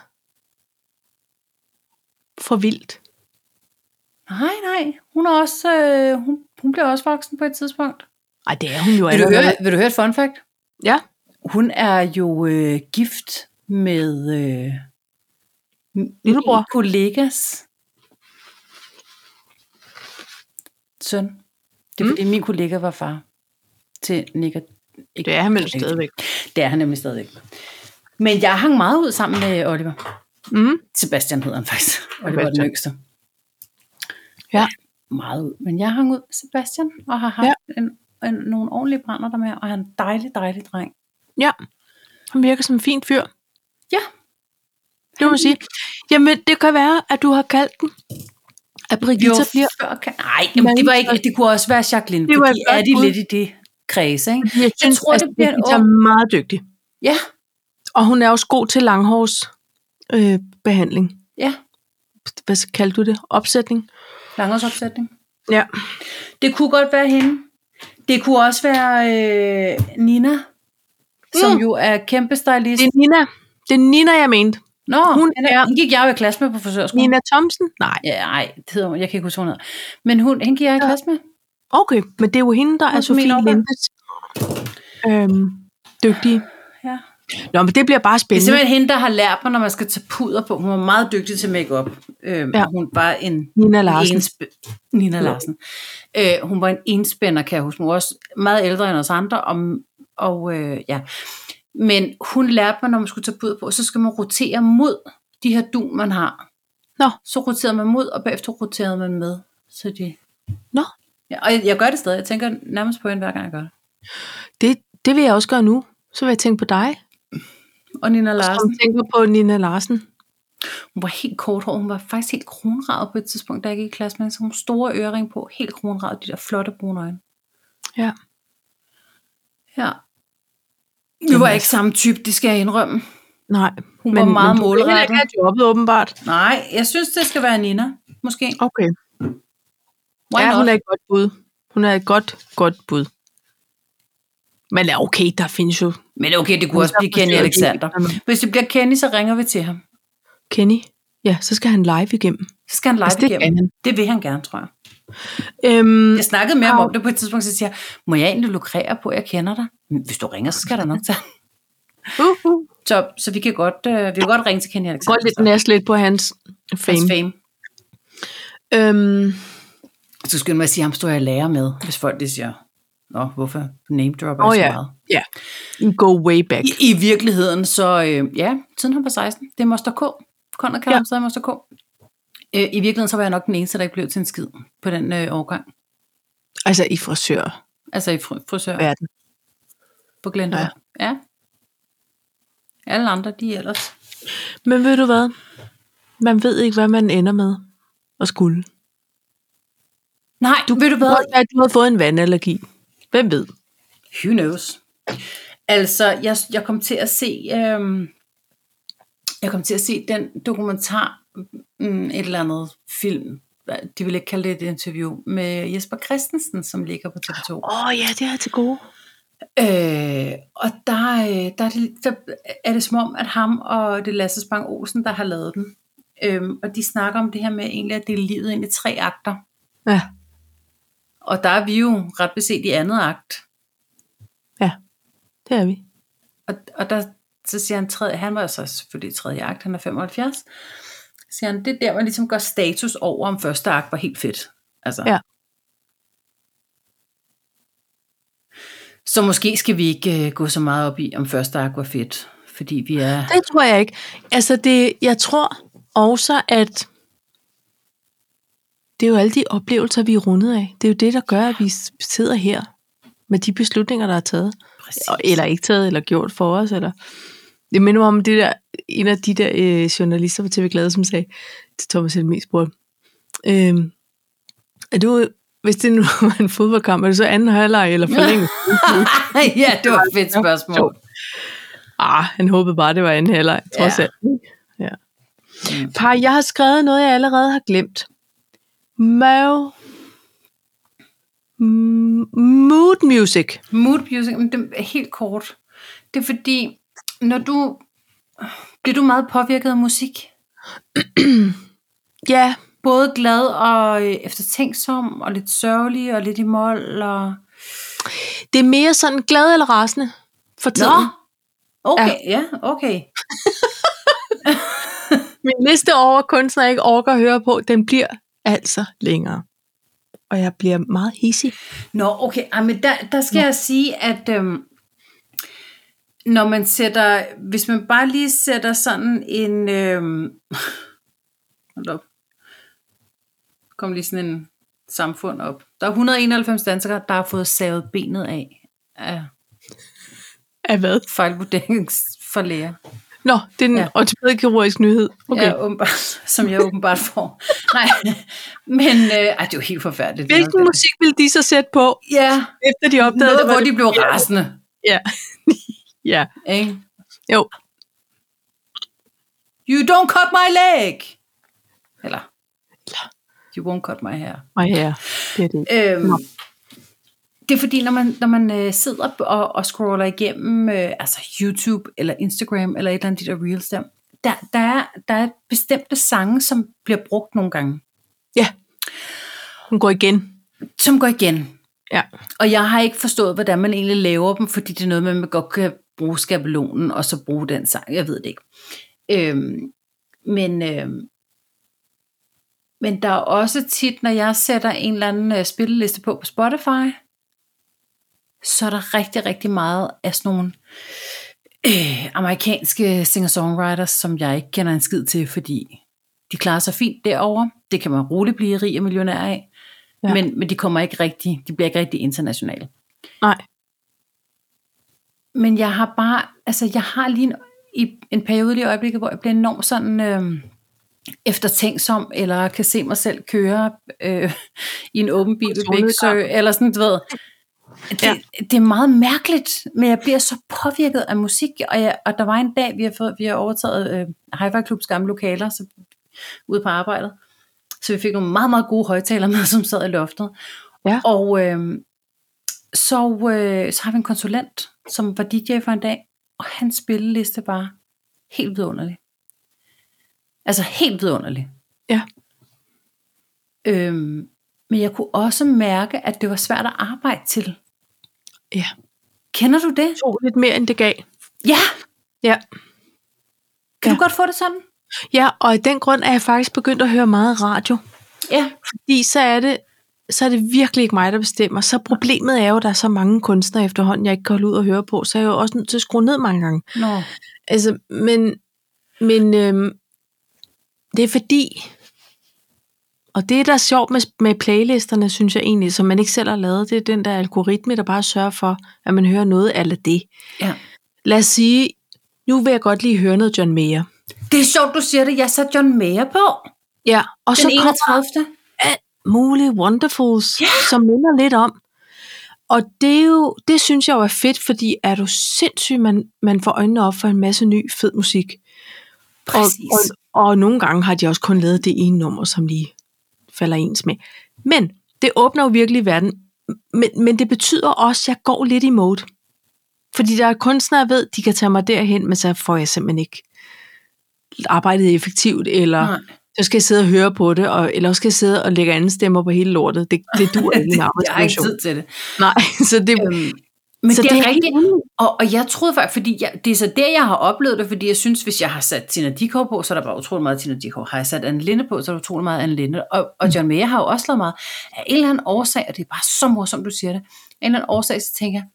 Speaker 1: for vildt.
Speaker 2: Nej, nej. Hun, er også, øh, hun, hun bliver også voksen på et tidspunkt.
Speaker 1: Ej, det er hun jo
Speaker 2: Vil du,
Speaker 1: allerede.
Speaker 2: høre, vil du høre et fun fact?
Speaker 1: Ja.
Speaker 2: Hun er jo øh, gift med øh, m-
Speaker 1: Lillebror.
Speaker 2: min kollegas søn. Det er
Speaker 1: Mm.
Speaker 2: fordi min kollega var far til Nick og
Speaker 1: Det er han vel stadigvæk.
Speaker 2: Det er han nemlig stadigvæk. Men jeg hang meget ud sammen med Oliver.
Speaker 1: Mm.
Speaker 2: Sebastian hedder han faktisk. Og det var den
Speaker 1: Sebastian.
Speaker 2: yngste.
Speaker 1: Ja.
Speaker 2: Meget ud. Men jeg hang ud med Sebastian, og har haft ja. en, en, nogle ordentlige brænder der med, og han er en dejlig, dejlig dreng.
Speaker 1: Ja. Han virker som en fin fyr.
Speaker 2: Ja.
Speaker 1: Det må man sige. Jamen, det kan være, at du har kaldt den. At Brigitta
Speaker 2: Jo,
Speaker 1: bliver...
Speaker 2: før kan... Nej, jamen, det, var ikke, det kunne også være Jacqueline,
Speaker 1: Det var
Speaker 2: fordi
Speaker 1: et godt
Speaker 2: er de
Speaker 1: bud.
Speaker 2: lidt i det kredse, ikke?
Speaker 1: Jeg synes,
Speaker 2: tror,
Speaker 1: at
Speaker 2: det bliver en
Speaker 1: Brigitta er meget dygtig.
Speaker 2: Ja,
Speaker 1: Og hun er også god til langhårs øh, behandling.
Speaker 2: ja.
Speaker 1: Hvad kaldte du det? Opsætning?
Speaker 2: Langhårsopsætning.
Speaker 1: Ja.
Speaker 2: Det kunne godt være hende. Det kunne også være øh, Nina, som
Speaker 1: Mm.
Speaker 2: jo er kæmpe stylist.
Speaker 1: Det er Nina. Det er Nina, jeg mente.
Speaker 2: Nå,
Speaker 1: hun
Speaker 2: hun, er,
Speaker 1: er-
Speaker 2: hende gik jeg jo i klasse med på frisørskolen.
Speaker 1: Nina Thomsen? Nej.
Speaker 2: Ja, nej, det hedder hun. Jeg kan ikke huske, hvad hun hedder. Men hun, hende gik jeg i klasse med.
Speaker 1: Okay, men det er jo hende, der er
Speaker 2: Hun er
Speaker 1: Sofie
Speaker 2: min opad.
Speaker 1: Lindes øhm, dygtige.
Speaker 2: Ja.
Speaker 1: Nå, men det bliver bare
Speaker 2: Det er
Speaker 1: spændende.
Speaker 2: simpelthen hende, der har lært mig, når man skal tage puder på. Hun var meget dygtig til makeup. Øhm,
Speaker 1: Ja.
Speaker 2: ja. Hun var en
Speaker 1: Nina Larsen.
Speaker 2: Enspæ- Nina Larsen. Øh, hun var en enspænder, kan jeg huske. Hun var også meget ældre end os andre. Og, og øh, ja. Men hun lærte mig, når man skulle tage puder på, så skal man rotere mod de her dun, man har.
Speaker 1: Nå.
Speaker 2: Så roterede man mod, og bagefter roterede man med. Så de...
Speaker 1: Nå.
Speaker 2: Ja, og jeg, jeg gør det stadig. Jeg tænker nærmest på hende, hver gang jeg gør det.
Speaker 1: Det, det vil jeg også gøre nu. Så vil jeg tænke på dig.
Speaker 2: Og Nina
Speaker 1: Som
Speaker 2: Larsen,
Speaker 1: tænker på Nina Larsen.
Speaker 2: hun var helt kort hår. Hun var faktisk helt kronravet på et tidspunkt, da jeg gik i klasse med hende. Så hun havde store ørering på, helt kronravet, de der flotte brune øjne.
Speaker 1: Ja.
Speaker 2: Ja. Vi var ikke samme type, det skal jeg indrømme.
Speaker 1: Nej.
Speaker 2: Hun var meget
Speaker 1: du vil heller ikke
Speaker 2: målrettet.
Speaker 1: have jobbet, åbenbart.
Speaker 2: Nej, jeg synes, det skal være Nina. Måske.
Speaker 1: Okay.
Speaker 2: Why
Speaker 1: ja,
Speaker 2: not?
Speaker 1: hun er et godt bud. Hun er et godt, godt bud. Men ja, okay, der findes jo
Speaker 2: Men okay, det kunne også
Speaker 1: Hun er
Speaker 2: blive Kenny
Speaker 1: frisør,
Speaker 2: Alexander.
Speaker 1: det er ikke-
Speaker 2: Hvis det bliver Kenny, så ringer vi til ham.
Speaker 1: Kenny. Ja, så skal han live igennem.
Speaker 2: Så skal han live
Speaker 1: Altså, det
Speaker 2: igennem.
Speaker 1: kan han.
Speaker 2: Det vil han gerne, tror jeg.
Speaker 1: Øhm,
Speaker 2: Jeg snakkede med ham
Speaker 1: Au.
Speaker 2: om det på et tidspunkt, så siger jeg, må jeg egentlig lukrere på, at jeg kender dig? "Men Hvis du ringer, så skal der nok tage.
Speaker 1: uh, uh.
Speaker 2: Så, så vi kan godt, øh, vi kan godt ringe til Kenny
Speaker 1: Går
Speaker 2: Alexander.
Speaker 1: lidt
Speaker 2: så.
Speaker 1: næst lidt på hans
Speaker 2: Hans
Speaker 1: fame.
Speaker 2: fame.
Speaker 1: Øhm,
Speaker 2: Så skynder mig at sige, ham står jeg lærer med, hvis folk det siger, Nå, hvorfor name dropper
Speaker 1: Åh
Speaker 2: oh, så
Speaker 1: ja.
Speaker 2: meget?
Speaker 1: ja, go way back.
Speaker 2: I, I virkeligheden, så øh, ja, siden han var 16, det er Moster K. Conrad kalder
Speaker 1: Ja.
Speaker 2: ja. ham stadig Moster K. Øh, I virkeligheden, så var jeg nok den eneste, der ikke blev til en skid på den øh, årgang.
Speaker 1: Altså i frisørverden.
Speaker 2: Altså i fr- frisør ja. på Glendor.
Speaker 1: Ja.
Speaker 2: Ja. ja. Alle andre, de er ellers.
Speaker 1: Men ved du hvad? Man ved ikke, hvad man ender med at skulle.
Speaker 2: Nej, du, ved du hvad?
Speaker 1: Godt, at du har fået en vandallergi. Hvem ved?
Speaker 2: Who knows? Altså, jeg, jeg kom til at se... Øhm, jeg kom til at se den dokumentar, mm, et eller andet film, Hvad- de vil ikke kalde det et interview, med Jesper Christensen, som ligger på TV2.
Speaker 1: Åh oh, ja, det er til gode.
Speaker 2: Øh, og der, øh, der, er det, der er det som om, at ham og det er Lasse Spang Olsen, der har lavet den. Øhm, og de snakker om det her med egentlig at dele livet ind i tre akter.
Speaker 1: Ja.
Speaker 2: Og der er vi jo ret beset i andet akt.
Speaker 1: ja, det er vi.
Speaker 2: Og, og der, så siger han, tredje, han var jo så selvfølgelig i tredje akt, han er 75. Så siger han, det er der, man ligesom gør status over, om første akt var helt fedt. Altså.
Speaker 1: Ja.
Speaker 2: Så måske skal vi ikke øh, gå så meget op i, om første akt var fedt. Fordi vi er...
Speaker 1: Det tror jeg ikke. Altså, det, jeg tror også, at det er jo alle de oplevelser, vi er rundet af. Det er jo det, der gør, at vi s- sidder her med de beslutninger, der er taget.
Speaker 2: Præcis.
Speaker 1: Og- Eller ikke taget, eller gjort for os. Eller. Jeg minder mig om det der, en af de der øh, journalister på TV Glade, som sagde til Thomas Helmi spurgte, øh, "Øhm, er du hvis det nu var en fodboldkamp, er det så anden halvleg eller forlængelse?
Speaker 2: ja, det var et fedt spørgsmål.
Speaker 1: ah, han håbede bare, det var anden halvleg, trods
Speaker 2: Ja. Mm.
Speaker 1: alt. Ja. Par, jeg har skrevet noget, jeg allerede har glemt. Mave. M- Mood music.
Speaker 2: Mood music, men det er helt kort. Det er fordi, når du... Bliver du meget påvirket af musik?
Speaker 1: Ja,
Speaker 2: Både glad og øh, eftertænksom, og lidt sørgelig, og lidt i mål, og...
Speaker 1: det er mere sådan glad eller rasende for tiden.
Speaker 2: Nå! Okay, ja, okay.
Speaker 1: Min liste over kunstnere, jeg ikke orker at høre på, den bliver altså længere. Og jeg bliver meget hissig.
Speaker 2: Nå, okay. Ej, men der, der skal Nå. jeg sige, at øhm, når man sætter, hvis man bare lige sætter sådan en, øhm, hold op, kom lige sådan en samfund op. Der er 191 danskere, der har fået savet benet af, af
Speaker 1: Af hvad?
Speaker 2: fejlvurdering for læger.
Speaker 1: Nå, det er den ja.
Speaker 2: Ja.
Speaker 1: ortopædkirurgisk nyhed. Okay.
Speaker 2: Okay. Ja, åbenbart, som jeg åbenbart får. Nej, men øh, ej, det er jo helt forfærdeligt. det
Speaker 1: Hvilken
Speaker 2: er-
Speaker 1: musik ville de så sætte på,
Speaker 2: Ja,
Speaker 1: efter de opdagede
Speaker 2: noget,
Speaker 1: det? var
Speaker 2: hvor
Speaker 1: det
Speaker 2: de blev rasende.
Speaker 1: Ja. ja.
Speaker 2: Ikke?
Speaker 1: Jo.
Speaker 2: You don't cut my leg! Eller, you won't cut my hair.
Speaker 1: Og ja, det er det.
Speaker 2: Øhm, det er fordi, når man, når man øh, sidder og, og scroller igennem øh, altså YouTube eller Instagram eller et eller andet, de der reels der, der, der, er, der er bestemte sange, som bliver brugt nogle gange,
Speaker 1: Ja. Hun går igen.
Speaker 2: som går igen.
Speaker 1: Ja.
Speaker 2: Og jeg har ikke forstået, hvordan man egentlig laver dem, fordi det er noget med, at man godt kan bruge skabelonen og så bruge den sang. Jeg ved det ikke. Øhm, men, øhm, men der er også tit, når jeg sætter en eller anden øh, spilleliste på på Spotify, så er der rigtig, rigtig meget af sådan nogle øh, amerikanske singer-songwriters, som jeg ikke kender en skid til, fordi de klarer sig fint derovre. Det kan man roligt blive rig og millionær af.
Speaker 1: Ja.
Speaker 2: Ja. Men, men de kommer ikke rigtig, de bliver ikke rigtig internationale.
Speaker 1: Nej.
Speaker 2: Men jeg har bare, altså jeg har lige en, i en periode lige i øjeblikket, hvor jeg bliver enormt sådan øh, eftertænksom, eller kan se mig selv køre øh, i en åben bil ved Bæksø, eller sådan, du ved. Det,
Speaker 1: Ja.
Speaker 2: ja. det er meget mærkeligt, men jeg bliver så påvirket af musik, og, jeg, og der var en dag, vi har, fået, vi har overtaget øh, Hi-Fi Clubs gamle lokaler, så ude på arbejdet. Så vi fik nogle meget, meget gode højtalere med, som sad i loftet.
Speaker 1: Ja.
Speaker 2: Og øh, så, øh, så har vi en konsulent, som var DJ for en dag, og hans spilleliste var helt vidunderlig. Altså helt vidunderlig.
Speaker 1: Ja.
Speaker 2: Øhm, men jeg kunne også mærke, at det var svært at arbejde til.
Speaker 1: Ja.
Speaker 2: Kender du det?
Speaker 1: To lidt mere, end det gav.
Speaker 2: Ja!
Speaker 1: Ja.
Speaker 2: Kan
Speaker 1: Ja.
Speaker 2: du godt få det sådan?
Speaker 1: Ja, og af den grund er jeg faktisk begyndt at høre meget radio.
Speaker 2: Ja.
Speaker 1: Fordi så er det, så er det virkelig ikke mig, der bestemmer. Så problemet er jo, at der er så mange kunstnere efterhånden, jeg ikke kan holde ud og høre på, så er jeg jo også nødt til at skrue ned mange gange.
Speaker 2: Nå.
Speaker 1: Altså, men, men øhm, det er fordi, og det der er sjovt med, med playlisterne, synes jeg egentlig, som man ikke selv har lavet, det er den der algoritme, der bare sørger for, at man hører noget af det.
Speaker 2: Ja.
Speaker 1: Lad os sige, nu vil jeg godt lige høre noget John Mayer.
Speaker 2: Det er sjovt, du siger det. Jeg satte John Mayer på
Speaker 1: Ja, og så
Speaker 2: den
Speaker 1: kommer
Speaker 2: 31.
Speaker 1: alt muligt Wonderfuls, yeah. som minder lidt om. Og det, er jo, det synes jeg jo er fedt, fordi er du sindssyg, man, man får øjnene op for en masse ny fed musik. Og,
Speaker 2: Præcis.
Speaker 1: og, og nogle gange har de også kun lavet det ene nummer, som lige falder ens med. Men det åbner jo virkelig verden. Men, men det betyder også, at jeg går lidt i mode. Fordi der er kunstnere, jeg ved, de kan tage mig derhen, men så får jeg simpelthen ikke arbejdet effektivt, eller
Speaker 2: Nej.
Speaker 1: så skal jeg sidde og høre på det, og, eller også skal jeg sidde og lægge anden stemmer på hele lortet. Det, det dur ikke i en
Speaker 2: Jeg har ikke
Speaker 1: arbejdssituation.
Speaker 2: tid til det.
Speaker 1: Nej, så det,
Speaker 2: Øhm, men
Speaker 1: så
Speaker 2: så det er
Speaker 1: helt
Speaker 2: rigtigt.
Speaker 1: enig.
Speaker 2: Og, og jeg troede faktisk, fordi jeg, det er så der, jeg har oplevet det, fordi jeg synes, hvis jeg har sat Tina Dickow på, så er der bare utrolig meget Tina Dickow. Har jeg sat Anne Linde på, så er der utrolig meget Anne Linde. Og, og John Mayer har jo også lavet meget. Af en eller anden årsag, og det er bare så morsomt, du siger det, af en eller anden årsag, så tænker jeg,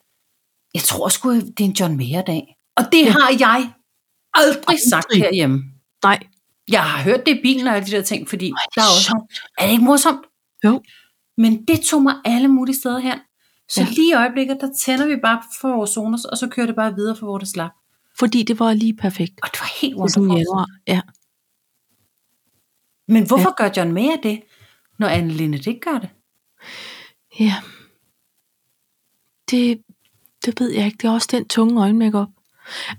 Speaker 2: jeg tror sgu, det er en John Mayer-dag. Og det har jeg aldrig sagt
Speaker 1: Aldrig.
Speaker 2: herhjemme.
Speaker 1: Nej,
Speaker 2: Jeg har hørt det i bilen og alle de der ting, fordi Ej,
Speaker 1: det
Speaker 2: der
Speaker 1: er
Speaker 2: er også... Er det ikke morsomt?
Speaker 1: Jo.
Speaker 2: Men det tog mig alle mulige steder hen. Så
Speaker 1: Ja.
Speaker 2: ja. lige i øjeblikket, der tænder vi bare for vores zoner, og så kører det bare videre for hvor det slap.
Speaker 1: fordi det var lige perfekt.
Speaker 2: Og det var helt
Speaker 1: Det er sådan i
Speaker 2: wonderful.
Speaker 1: januar. Ja.
Speaker 2: Men hvorfor ja. gør John Mayer det, når Anne Linde ikke gør det?
Speaker 1: Ja. Det, det ved jeg ikke. Det er også den tunge øjenmakeup.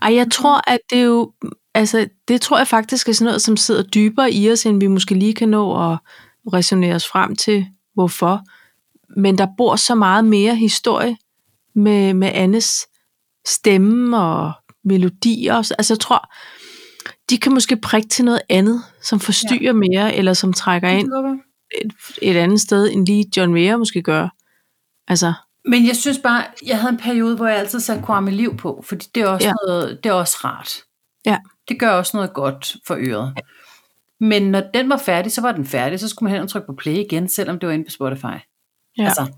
Speaker 1: Ej, jeg tror, at det er jo... Altså, det tror jeg faktisk er sådan noget, som sidder dybere i os, end vi måske lige kan nå at resonere os frem til, hvorfor. Men der bor så meget mere historie med, med Annes stemme og melodier. og så- Altså, jeg tror, de kan måske prikke til noget andet, som forstyrrer ja. mere, eller som trækker ind et, et andet sted, end lige John Mayer måske gør. Altså,
Speaker 2: Men jeg synes bare, jeg havde en periode, hvor jeg altid satte Kwame Liv på, fordi det er også,
Speaker 1: Ja.
Speaker 2: ja. noget, det er også rart.
Speaker 1: Ja.
Speaker 2: Det gør også noget godt for øret. Men når den var færdig, så var den færdig, så skulle man hen og trykke på play igen, selvom det var inde på Spotify. Ja.
Speaker 1: ja. altså
Speaker 2: Altså,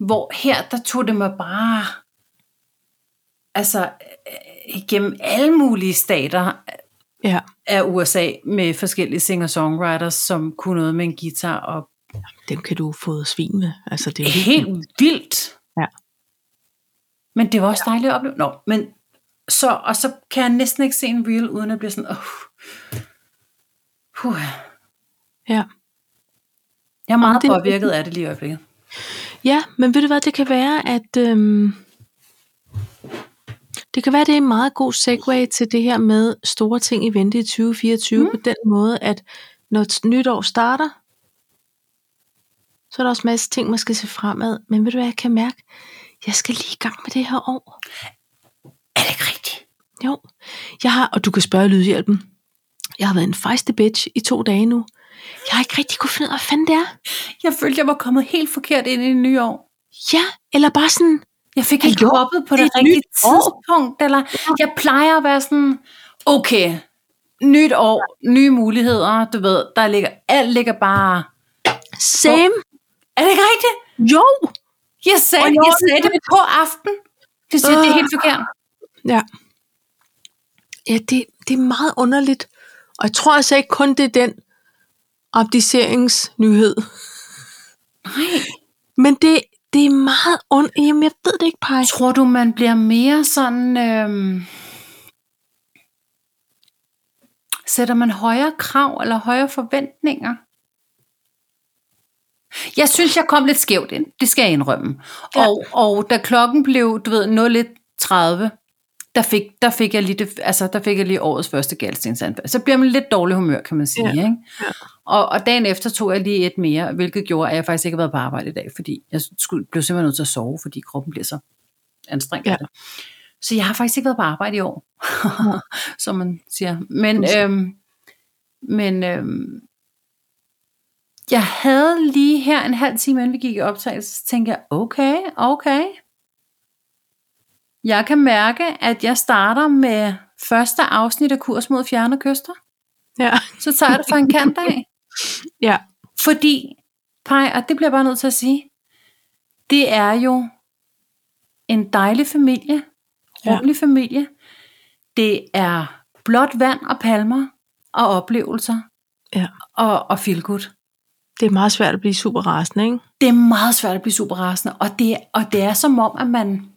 Speaker 2: hvor her, der tog det mig bare, altså, øh, igennem alle mulige stater
Speaker 1: ja.
Speaker 2: af USA med forskellige singer-songwriters, som kunne noget med en guitar og
Speaker 1: Dem kan du få svin med. Altså, det er jo
Speaker 2: helt vildt.
Speaker 1: Ja.
Speaker 2: Men det var også dejligt at opleve. Nå, men så, og så kan jeg næsten ikke se en reel, uden at blive sådan, uh, uh,
Speaker 1: Ja.
Speaker 2: jeg er meget
Speaker 1: det er
Speaker 2: påvirket af det lige i øjeblikket.
Speaker 1: ja, men ved du hvad, det kan være, at... Øhm, det kan være, det er en meget god segue til det her med store ting i vente i 2024, mm. på den måde, at når et nytår starter, så er der også masse ting, man skal se fremad. Men ved du hvad, jeg kan mærke, jeg skal lige i gang med det her år.
Speaker 2: Er det ikke rigtigt?
Speaker 1: Jo, jeg har, og du kan spørge Lydhjælpen. Jeg har været en fejste bitch i to dage nu. Jeg har ikke rigtig kunne finde ud af, hvad fanden det er.
Speaker 2: Jeg følte, jeg var kommet helt forkert ind i det nye år.
Speaker 1: Ja, eller bare sådan,
Speaker 2: Jeg fik ikke
Speaker 1: Hallo,
Speaker 2: hoppet på
Speaker 1: det er
Speaker 2: det,
Speaker 1: et
Speaker 2: rigtige
Speaker 1: nyt år.
Speaker 2: tidspunkt, eller jeg plejer at være sådan, okay, nyt år, nye muligheder, du ved, der ligger, alt ligger bare,
Speaker 1: same.
Speaker 2: er det ikke rigtigt?
Speaker 1: Jo.
Speaker 2: Jeg sagde,
Speaker 1: Og
Speaker 2: jeg
Speaker 1: når-
Speaker 2: sagde det på aften. Det siger, det er helt forkert.
Speaker 1: Ja. Ja, det, det er meget underligt. Og jeg tror altså ikke kun, det er den abdiceringsnyhed.
Speaker 2: Nej.
Speaker 1: Men det, det er meget ondt. Jamen, jeg ved det ikke, Paj.
Speaker 2: Tror du, man bliver mere sådan... Øhm, sætter man højere krav eller højere forventninger? Jeg synes, jeg kom lidt skævt ind. Det skal jeg indrømme.
Speaker 1: Ja.
Speaker 2: Ja. Og, og da klokken blev, du ved, 01.30, der fik, der fik jeg lige det, altså, der fik jeg lige årets første galstensanfald. Så bliver man lidt dårlig humør, kan man sige.
Speaker 1: Ja.
Speaker 2: Ja. Ikke? Og, og dagen efter tog jeg lige et mere, hvilket gjorde, at jeg faktisk ikke har været på arbejde i dag, fordi jeg skulle, blev simpelthen nødt til at sove, fordi kroppen bliver så anstrengt.
Speaker 1: Ja.
Speaker 2: Ja. Så jeg har faktisk ikke været på arbejde i år, som man siger. Men,
Speaker 1: Ups.
Speaker 2: øhm, men øhm, jeg havde lige her en halv time, inden vi gik i optagelse, så tænkte jeg, okay, okay. Jeg kan mærke, at jeg starter med første afsnit af Kurs mod Fjerne Kyster.
Speaker 1: Ja.
Speaker 2: Så tager jeg det fra en kant af.
Speaker 1: ja.
Speaker 2: Fordi, Paj, og det bliver jeg bare nødt til at sige, det er jo en dejlig familie,
Speaker 1: Ja.
Speaker 2: rummelig ja. familie. Det er blåt vand og palmer og oplevelser
Speaker 1: Ja.
Speaker 2: og, og feel good.
Speaker 1: Det er meget svært at blive super rasende, ikke?
Speaker 2: Det er meget svært at blive super rasende, og det, og det er som om, at man,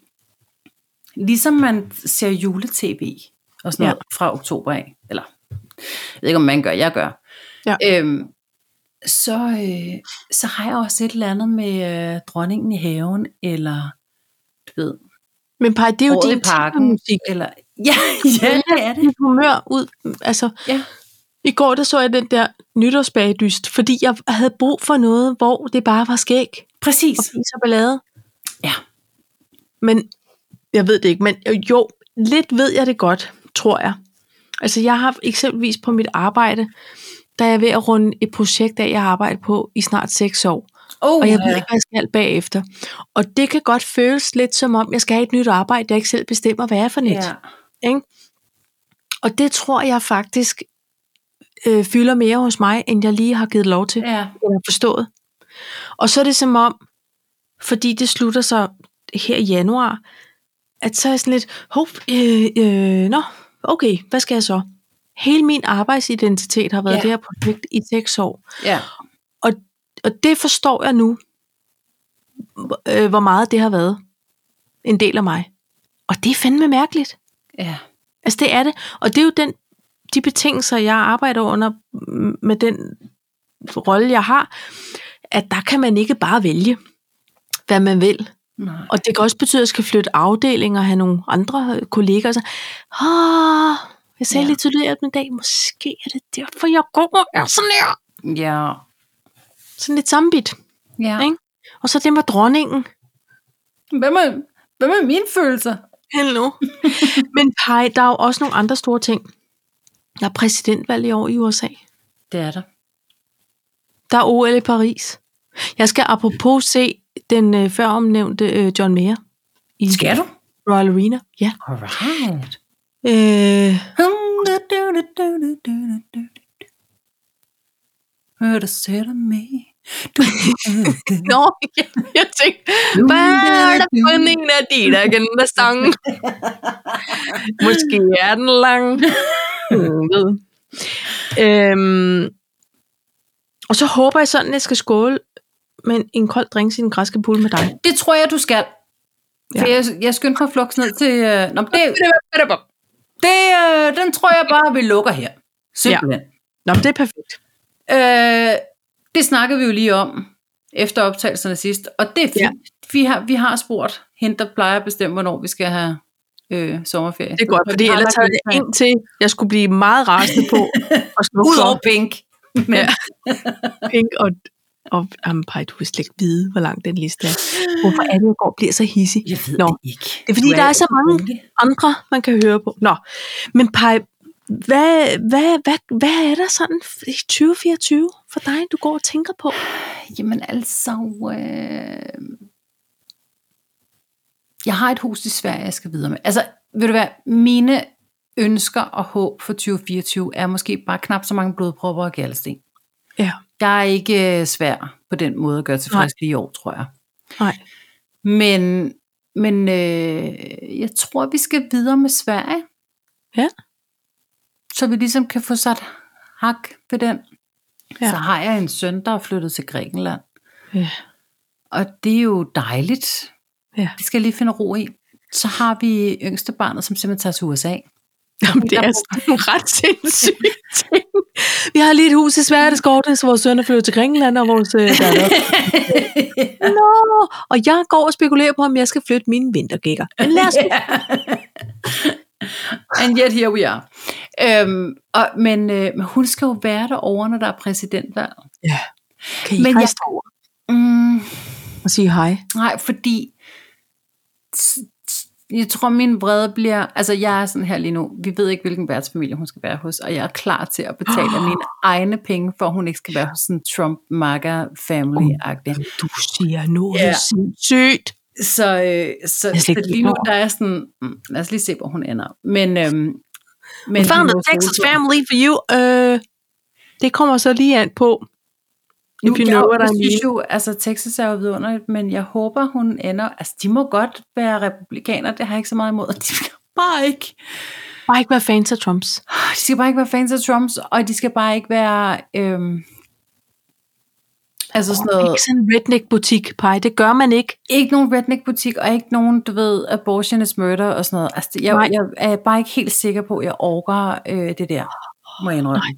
Speaker 2: ligesom man ser juletv og sådan
Speaker 1: Ja.
Speaker 2: noget ja. fra oktober af, eller jeg ved ikke, om man gør, jeg gør,
Speaker 1: Ja.
Speaker 2: øhm, så, øh, så har jeg også et eller andet med øh, dronningen i haven, eller du ved,
Speaker 1: Men Paj, det er jo
Speaker 2: året i
Speaker 1: din
Speaker 2: parken,
Speaker 1: musik.
Speaker 2: eller, ja, ja, det er det.
Speaker 1: mit humør ud. Altså,
Speaker 2: Ja.
Speaker 1: I går der så jeg den der nytårsbagdyst, fordi jeg havde brug for noget, hvor det bare var skæg
Speaker 2: Præcis.
Speaker 1: og is og ballade.
Speaker 2: Ja.
Speaker 1: Men jeg ved det ikke, men jo, lidt ved jeg det godt, tror jeg. Altså jeg har eksempelvis på mit arbejde, der er jeg ved at runde et projekt af, jeg har arbejdet på i snart seks år.
Speaker 2: Oh,
Speaker 1: Og jeg ved ikke, hvad jeg skal bagefter. Og det kan godt føles lidt som om, jeg skal have et nyt arbejde, jeg ikke selv bestemmer, hvad jeg er for net.
Speaker 2: ja.
Speaker 1: Ikke? Og det tror jeg faktisk øh, fylder mere hos mig, end jeg lige har givet lov til,
Speaker 2: ja.
Speaker 1: eller forstået. Og så er det som om, fordi det slutter så her i januar, at så er jeg sådan lidt, hov, øh, øh, nå, okay, hvad skal jeg så? Hele min arbejdsidentitet har været
Speaker 2: Ja.
Speaker 1: det her projekt i seks år.
Speaker 2: ja.
Speaker 1: Og, og det forstår jeg nu, øh, hvor meget det har været en del af mig. Og det er fandme mærkeligt.
Speaker 2: ja.
Speaker 1: Altså det er det, og det er jo den, de betingelser, jeg arbejder under m- med den rolle, jeg har, at der kan man ikke bare vælge, hvad man vil.
Speaker 2: Nej.
Speaker 1: Og det kan også betyde, at jeg skal flytte afdelinger og have nogle andre øh, kollegaer. Så, oh, jeg sagde
Speaker 2: Ja.
Speaker 1: ja. lidt isoleret i dag, måske er det derfor, jeg går er sådan her.
Speaker 2: Ja.
Speaker 1: Sådan lidt sammenbit.
Speaker 2: ja.
Speaker 1: Ikke? Og så det med dronningen.
Speaker 2: Hvad med, hvad med mine følelser?
Speaker 1: Hello. Men Paj, der er jo også nogle andre store ting. Der er præsidentvalg i år i USA.
Speaker 2: Det er der.
Speaker 1: Der er OL i Paris. Jeg skal apropos se den øh, før omnævnte øh, John Mayer i
Speaker 2: Skal du?
Speaker 1: Royal Arena. Ja.
Speaker 2: Alright.
Speaker 1: Øh,
Speaker 2: Hør dig selv om mig.
Speaker 1: Nå, ja, jeg tænkte, hvad er der for en af de, der kan der sang? Måske er den lang. Ingen ved. øhm, og så håber jeg sådan, at jeg skal skåle med en- en kold drink i den græske pool med dig.
Speaker 2: Det tror jeg, du skal. For
Speaker 1: Ja.
Speaker 2: jeg, jeg skyndte mig flugt ned til... Øh, nå, men det,
Speaker 1: Nå,
Speaker 2: det, øh, den tror jeg bare, vi lukker her. Simpelthen.
Speaker 1: men det er perfekt.
Speaker 2: Øh, det snakkede vi jo lige om efter optagelserne sidst, og det er fint.
Speaker 1: Ja.
Speaker 2: Vi, har, vi har spurgt hende, der plejer at bestemme, hvornår vi skal have øh, sommerferie.
Speaker 1: Det er godt,
Speaker 2: Og
Speaker 1: fordi
Speaker 2: vi har
Speaker 1: ellers
Speaker 2: lagt
Speaker 1: havde jeg
Speaker 2: ind-
Speaker 1: ind til, jeg skulle blive meget rasende på at slå
Speaker 2: ud over
Speaker 1: for
Speaker 2: Pink. Men,
Speaker 1: Ja. pink og... Og, jamen, Paj, du vil slet ikke vide, hvor lang den liste er. Hvorfor er det, jeg går og bliver så hissig?
Speaker 2: Jeg ved
Speaker 1: Nå.
Speaker 2: det ikke.
Speaker 1: Det er fordi,
Speaker 2: Du
Speaker 1: der er så mange
Speaker 2: rolig.
Speaker 1: andre, man kan høre på. Nå, men Paj, hvad, hvad, hvad, hvad er der sådan i 2024 for dig, du går og tænker på?
Speaker 2: Jamen altså... Øh... Jeg har et hus i Sverige, jeg skal videre med. Altså, vil du være, mine ønsker og håb for 2024 er måske bare knap så mange blodpropper og galsten.
Speaker 1: Ja,
Speaker 2: Jeg er ikke øh, svær på den måde at gøre tilfreds lige i år, tror jeg.
Speaker 1: nej.
Speaker 2: Men, men øh, jeg tror, vi skal videre med Sverige.
Speaker 1: Ja.
Speaker 2: Så vi ligesom kan få sat hak ved den. Ja.
Speaker 1: Ja.
Speaker 2: Så har jeg en søn, der er flyttet til Grækenland.
Speaker 1: Ja.
Speaker 2: Og det er jo dejligt.
Speaker 1: Ja.
Speaker 2: Det skal jeg lige finde ro i. Så har vi yngste barnet, som simpelthen tager til USA.
Speaker 1: Jamen, det er sådan nogle ret sindssyge ting. Vi har lige et hus i Sverige, der skal ordnes, så vores sønner flytter til Grækenland, og vores øh, datter. Nå, og jeg går og spekulerer på, om jeg skal flytte mine vintergækker. Men lad os
Speaker 2: And yet here we are. Øhm, og, men, øh, men hun skal jo være derovre, når der er præsidentvalg.
Speaker 1: kan I
Speaker 2: Men
Speaker 1: Men
Speaker 2: jeg-
Speaker 1: rejse over
Speaker 2: Mm,
Speaker 1: og sige hej?
Speaker 2: Nej, fordi s- s- jeg tror, min vrede bliver... Altså, jeg er sådan her lige nu. Vi ved ikke, hvilken værtsfamilie hun skal være hos, og jeg er klar til at betale
Speaker 1: Ah.
Speaker 2: oh. mine egne penge, for at hun ikke skal være hos sådan trump maga family agtig
Speaker 1: Du siger noget
Speaker 2: Ja.
Speaker 1: yeah. sindssygt.
Speaker 2: Så, øh, så,
Speaker 1: er slet
Speaker 2: så
Speaker 1: ikke
Speaker 2: lige nu,
Speaker 1: klar over.
Speaker 2: der er sådan... Mm, lad os lige se, hvor hun ender. Men, øhm,
Speaker 1: We
Speaker 2: men
Speaker 1: found
Speaker 2: vi
Speaker 1: a
Speaker 2: må
Speaker 1: Texas
Speaker 2: stole på-
Speaker 1: family for you. Øh, det kommer så lige an på,
Speaker 2: Nu,
Speaker 1: if you know
Speaker 2: jeg,
Speaker 1: what
Speaker 2: jeg
Speaker 1: I mean.
Speaker 2: synes jo, altså Texas er jo vidunderligt, men jeg håber, hun ender... Altså, de må godt være republikaner, det har jeg ikke så meget imod. De skal bare ikke
Speaker 1: Bare ikke være fans af Trumps.
Speaker 2: De skal bare ikke være fans af Trumps, og de skal bare ikke være... Øhm, altså sådan noget...
Speaker 1: Ikke sådan en redneck-butik, Paj. Det gør man ikke.
Speaker 2: Ikke nogen redneck-butik, og ikke nogen, du ved, abortion is murder og sådan noget. Altså, det- jeg,
Speaker 1: Nej.
Speaker 2: jeg er bare ikke helt sikker på, at jeg orker øh, det der, må jeg indrømme.
Speaker 1: Nej.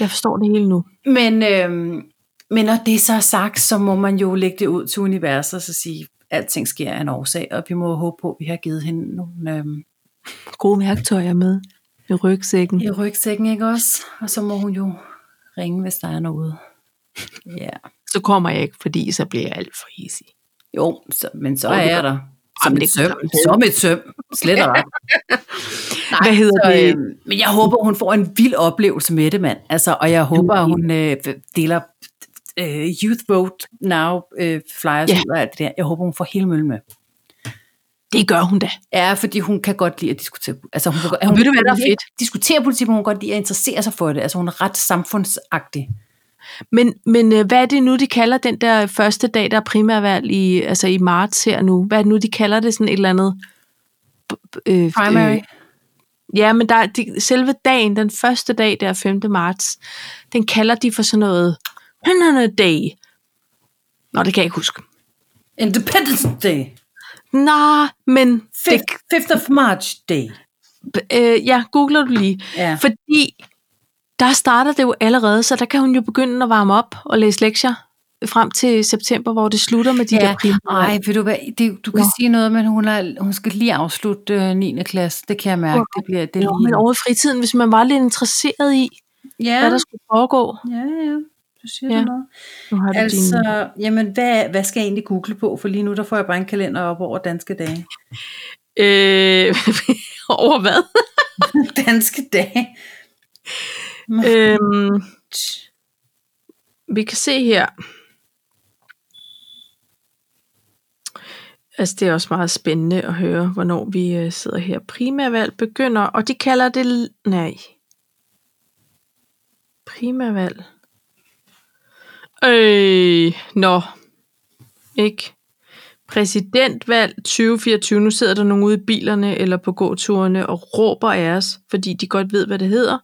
Speaker 1: Jeg forstår det hele nu.
Speaker 2: Men, øhm, men når det så er sagt, så må man jo lægge det ud til universet og så sige, at alting sker af en årsag, og vi må håbe på, at vi har givet hende nogle øhm,
Speaker 1: Gode værktøjer med i rygsækken.
Speaker 2: i rygsækken, ikke også? Og så må hun jo ringe, hvis der er noget. Ja. Yeah.
Speaker 1: Så kommer jeg ikke, fordi så bliver jeg alt for easy.
Speaker 2: Jo, så, men så
Speaker 1: Jo, det
Speaker 2: er
Speaker 1: gør-
Speaker 2: jeg der.
Speaker 1: Jamen,
Speaker 2: Som et
Speaker 1: det
Speaker 2: søm.
Speaker 1: gør man.
Speaker 2: Som et søm. Slet og ret. Nej,
Speaker 1: Hvad hedder
Speaker 2: så,
Speaker 1: det?
Speaker 2: øhm, men jeg håber, hun får en vild oplevelse med det, mand. Altså, og jeg håber, at hun øh, deler øh, Youth Vote Now øh, flyers
Speaker 1: Ja.
Speaker 2: ud og alt det der. Jeg håber, hun får hele møllen med.
Speaker 1: Det gør hun da.
Speaker 2: Ja, fordi hun kan godt lide at diskutere. Altså, hun kan, godt-
Speaker 1: Og
Speaker 2: hun
Speaker 1: ved du, hvad der er
Speaker 2: kan lide at
Speaker 1: fedt?
Speaker 2: Diskutere politik, men hun kan godt lide at interessere sig for det. Altså, hun er ret samfundsagtig.
Speaker 1: Men, men øh, hvad er det nu, de kalder den der første dag, der er primærvalg i, altså i marts her nu? Hvad er det nu, de kalder det? Sådan et eller andet... b- b- øh,
Speaker 2: Primary.
Speaker 1: øh, Ja, men der, de, selve dagen, den første dag, der er 5. marts, den kalder de for sådan noget Banana Day. Nå, det kan jeg ikke huske.
Speaker 2: Øh, Independence Day.
Speaker 1: Nå, men... Det,
Speaker 2: 5th, 5th of March Day.
Speaker 1: øh, ja, googler du lige.
Speaker 2: Ja.
Speaker 1: Fordi der starter det jo allerede, så der kan hun jo begynde at varme op og læse lektier frem til september, hvor det slutter med de ja. der primære.
Speaker 2: Ej, ved du hvad, det, du kan
Speaker 1: Nå.
Speaker 2: sige noget, men hun, er, hun skal lige afslutte øh, 9. klasse. Det kan jeg mærke. Det bliver det er
Speaker 1: Nå, men
Speaker 2: lige.
Speaker 1: over i fritiden, hvis man var lidt interesseret i, ja. hvad
Speaker 2: Ja,
Speaker 1: der skulle foregå.
Speaker 2: ja, ja. Du siger ja.
Speaker 1: Ja.
Speaker 2: det noget.
Speaker 1: Nu har du altså, din,
Speaker 2: Altså, jamen, hvad, hvad skal jeg egentlig google på? For lige nu, der får jeg bare en kalender op over danske dage.
Speaker 1: øh, over hvad?
Speaker 2: danske dage?
Speaker 1: øhm, vi kan se her. Altså, det er også meget spændende at høre, hvornår vi øh, sidder her. Primærvalg begynder, og de kalder det... l- Nej. Primærvalg. Øh, nå. Ikke? Præsidentvalg 2024. Nu sidder der nogen ude i bilerne eller på gåturene og råber af os, fordi de godt ved, hvad det hedder.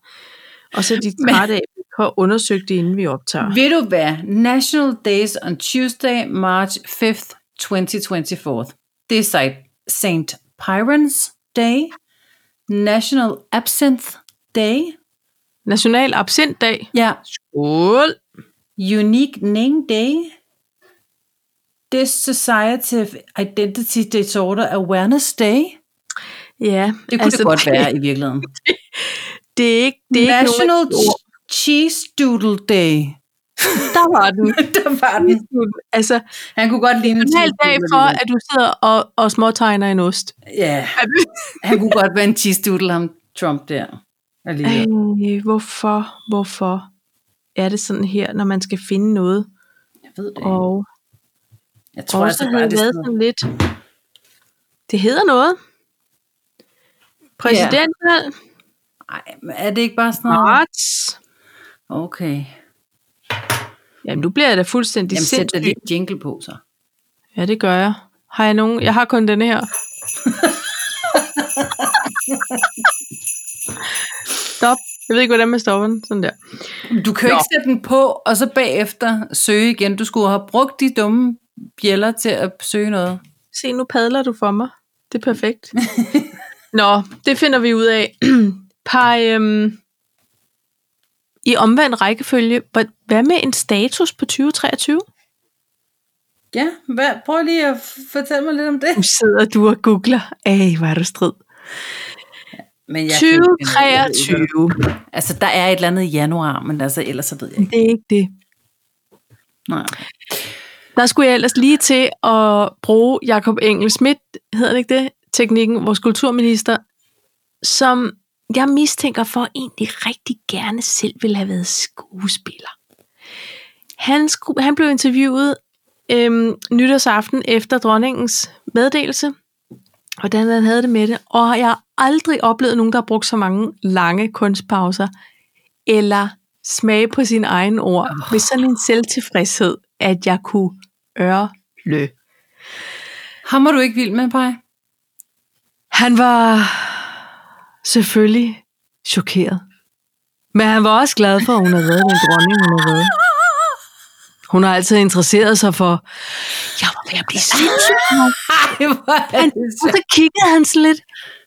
Speaker 1: Og så er de
Speaker 2: Men-
Speaker 1: trætte af, at vi ikke har undersøgt det, inden vi optager.
Speaker 2: Ved du hvad? National Days on Tuesday, March 5th, 2024. Det er sejt. St. Pyrens Day. National Absinthe Day.
Speaker 1: National absintdag.
Speaker 2: Ja,
Speaker 1: Skål.
Speaker 2: Unique Name Day. This Society of Identity Disorder Awareness Day.
Speaker 1: Ja,
Speaker 2: Det kunne altså, det godt
Speaker 1: det,
Speaker 2: være i virkeligheden.
Speaker 1: Det er ikke, det er ikke
Speaker 2: National
Speaker 1: nogen,
Speaker 2: Ch- Cheese Doodle Day.
Speaker 1: der var den.
Speaker 2: Der var den.
Speaker 1: altså,
Speaker 2: Han kunne godt ligne en
Speaker 1: en hel
Speaker 2: cheese
Speaker 1: dag
Speaker 2: doodle
Speaker 1: for,
Speaker 2: alligevel.
Speaker 1: at du sidder og, og småtegner en ost.
Speaker 2: Ja, han kunne godt være en cheese doodle, ham Trump der. Alligevel.
Speaker 1: Ej, hvorfor, hvorfor er det sådan her, når man skal finde noget?
Speaker 2: Jeg ved det ikke.
Speaker 1: Og
Speaker 2: Jeg tror
Speaker 1: tror
Speaker 2: altså
Speaker 1: også
Speaker 2: bare,
Speaker 1: havde
Speaker 2: det er
Speaker 1: været
Speaker 2: sådan noget.
Speaker 1: sådan lidt... Det hedder noget. Præsidentvalg.
Speaker 2: Ej, men er det ikke bare sådan noget?
Speaker 1: Marts.
Speaker 2: Okay.
Speaker 1: Jamen, nu bliver jeg da fuldstændig
Speaker 2: Jamen, sæt da
Speaker 1: sindssyg.
Speaker 2: lige en jingle på, så.
Speaker 1: Ja, det gør jeg. Har jeg nogen? Jeg har kun den her. Stop. Jeg ved ikke, hvordan man stopper den. Sådan der.
Speaker 2: Du kan jo
Speaker 1: Nå.
Speaker 2: ikke sætte den på, og så bagefter søge igen. Du skulle have brugt de dumme bjæller til at søge noget.
Speaker 1: Se, nu padler du for mig. Det er perfekt. Nå, det finder vi ud af. Par, øhm, I omvendt rækkefølge, hvor- hvad med en status på 2023?
Speaker 2: Ja, hvad, prøv lige at fortælle mig lidt om det.
Speaker 1: Nu sidder du og googler. Ej, hvor er du strid.
Speaker 2: Men jeg kan ikke finde ud af det.
Speaker 1: 2023.
Speaker 2: Altså, der er et eller andet i januar, men altså, ellers så ved jeg ikke.
Speaker 1: Det er ikke det.
Speaker 2: Nej.
Speaker 1: Der skulle jeg ellers lige til at bruge Jakob Engel Schmidt, hedder det ikke det, teknikken, vores kulturminister, som jeg mistænker for egentlig rigtig gerne selv ville have været skuespiller. Han, sku, han blev interviewet øhm, nytårsaften efter dronningens meddelelse, hvordan han havde det med det, og jeg har aldrig oplevet nogen, der har brugt så mange lange kunstpauser, eller smage på sine egne ord, med sådan en selvtilfredshed, at jeg kunne ørle.
Speaker 2: Ham var du ikke vild med, Paj?
Speaker 1: Han var selvfølgelig chokeret. Men han var også glad for, at hun havde været den dronning, hun havde været. Hun har altid interesseret sig for, jeg var ved at blive sindssyg.
Speaker 2: Ej, hvor er det
Speaker 1: Og så kiggede han sådan lidt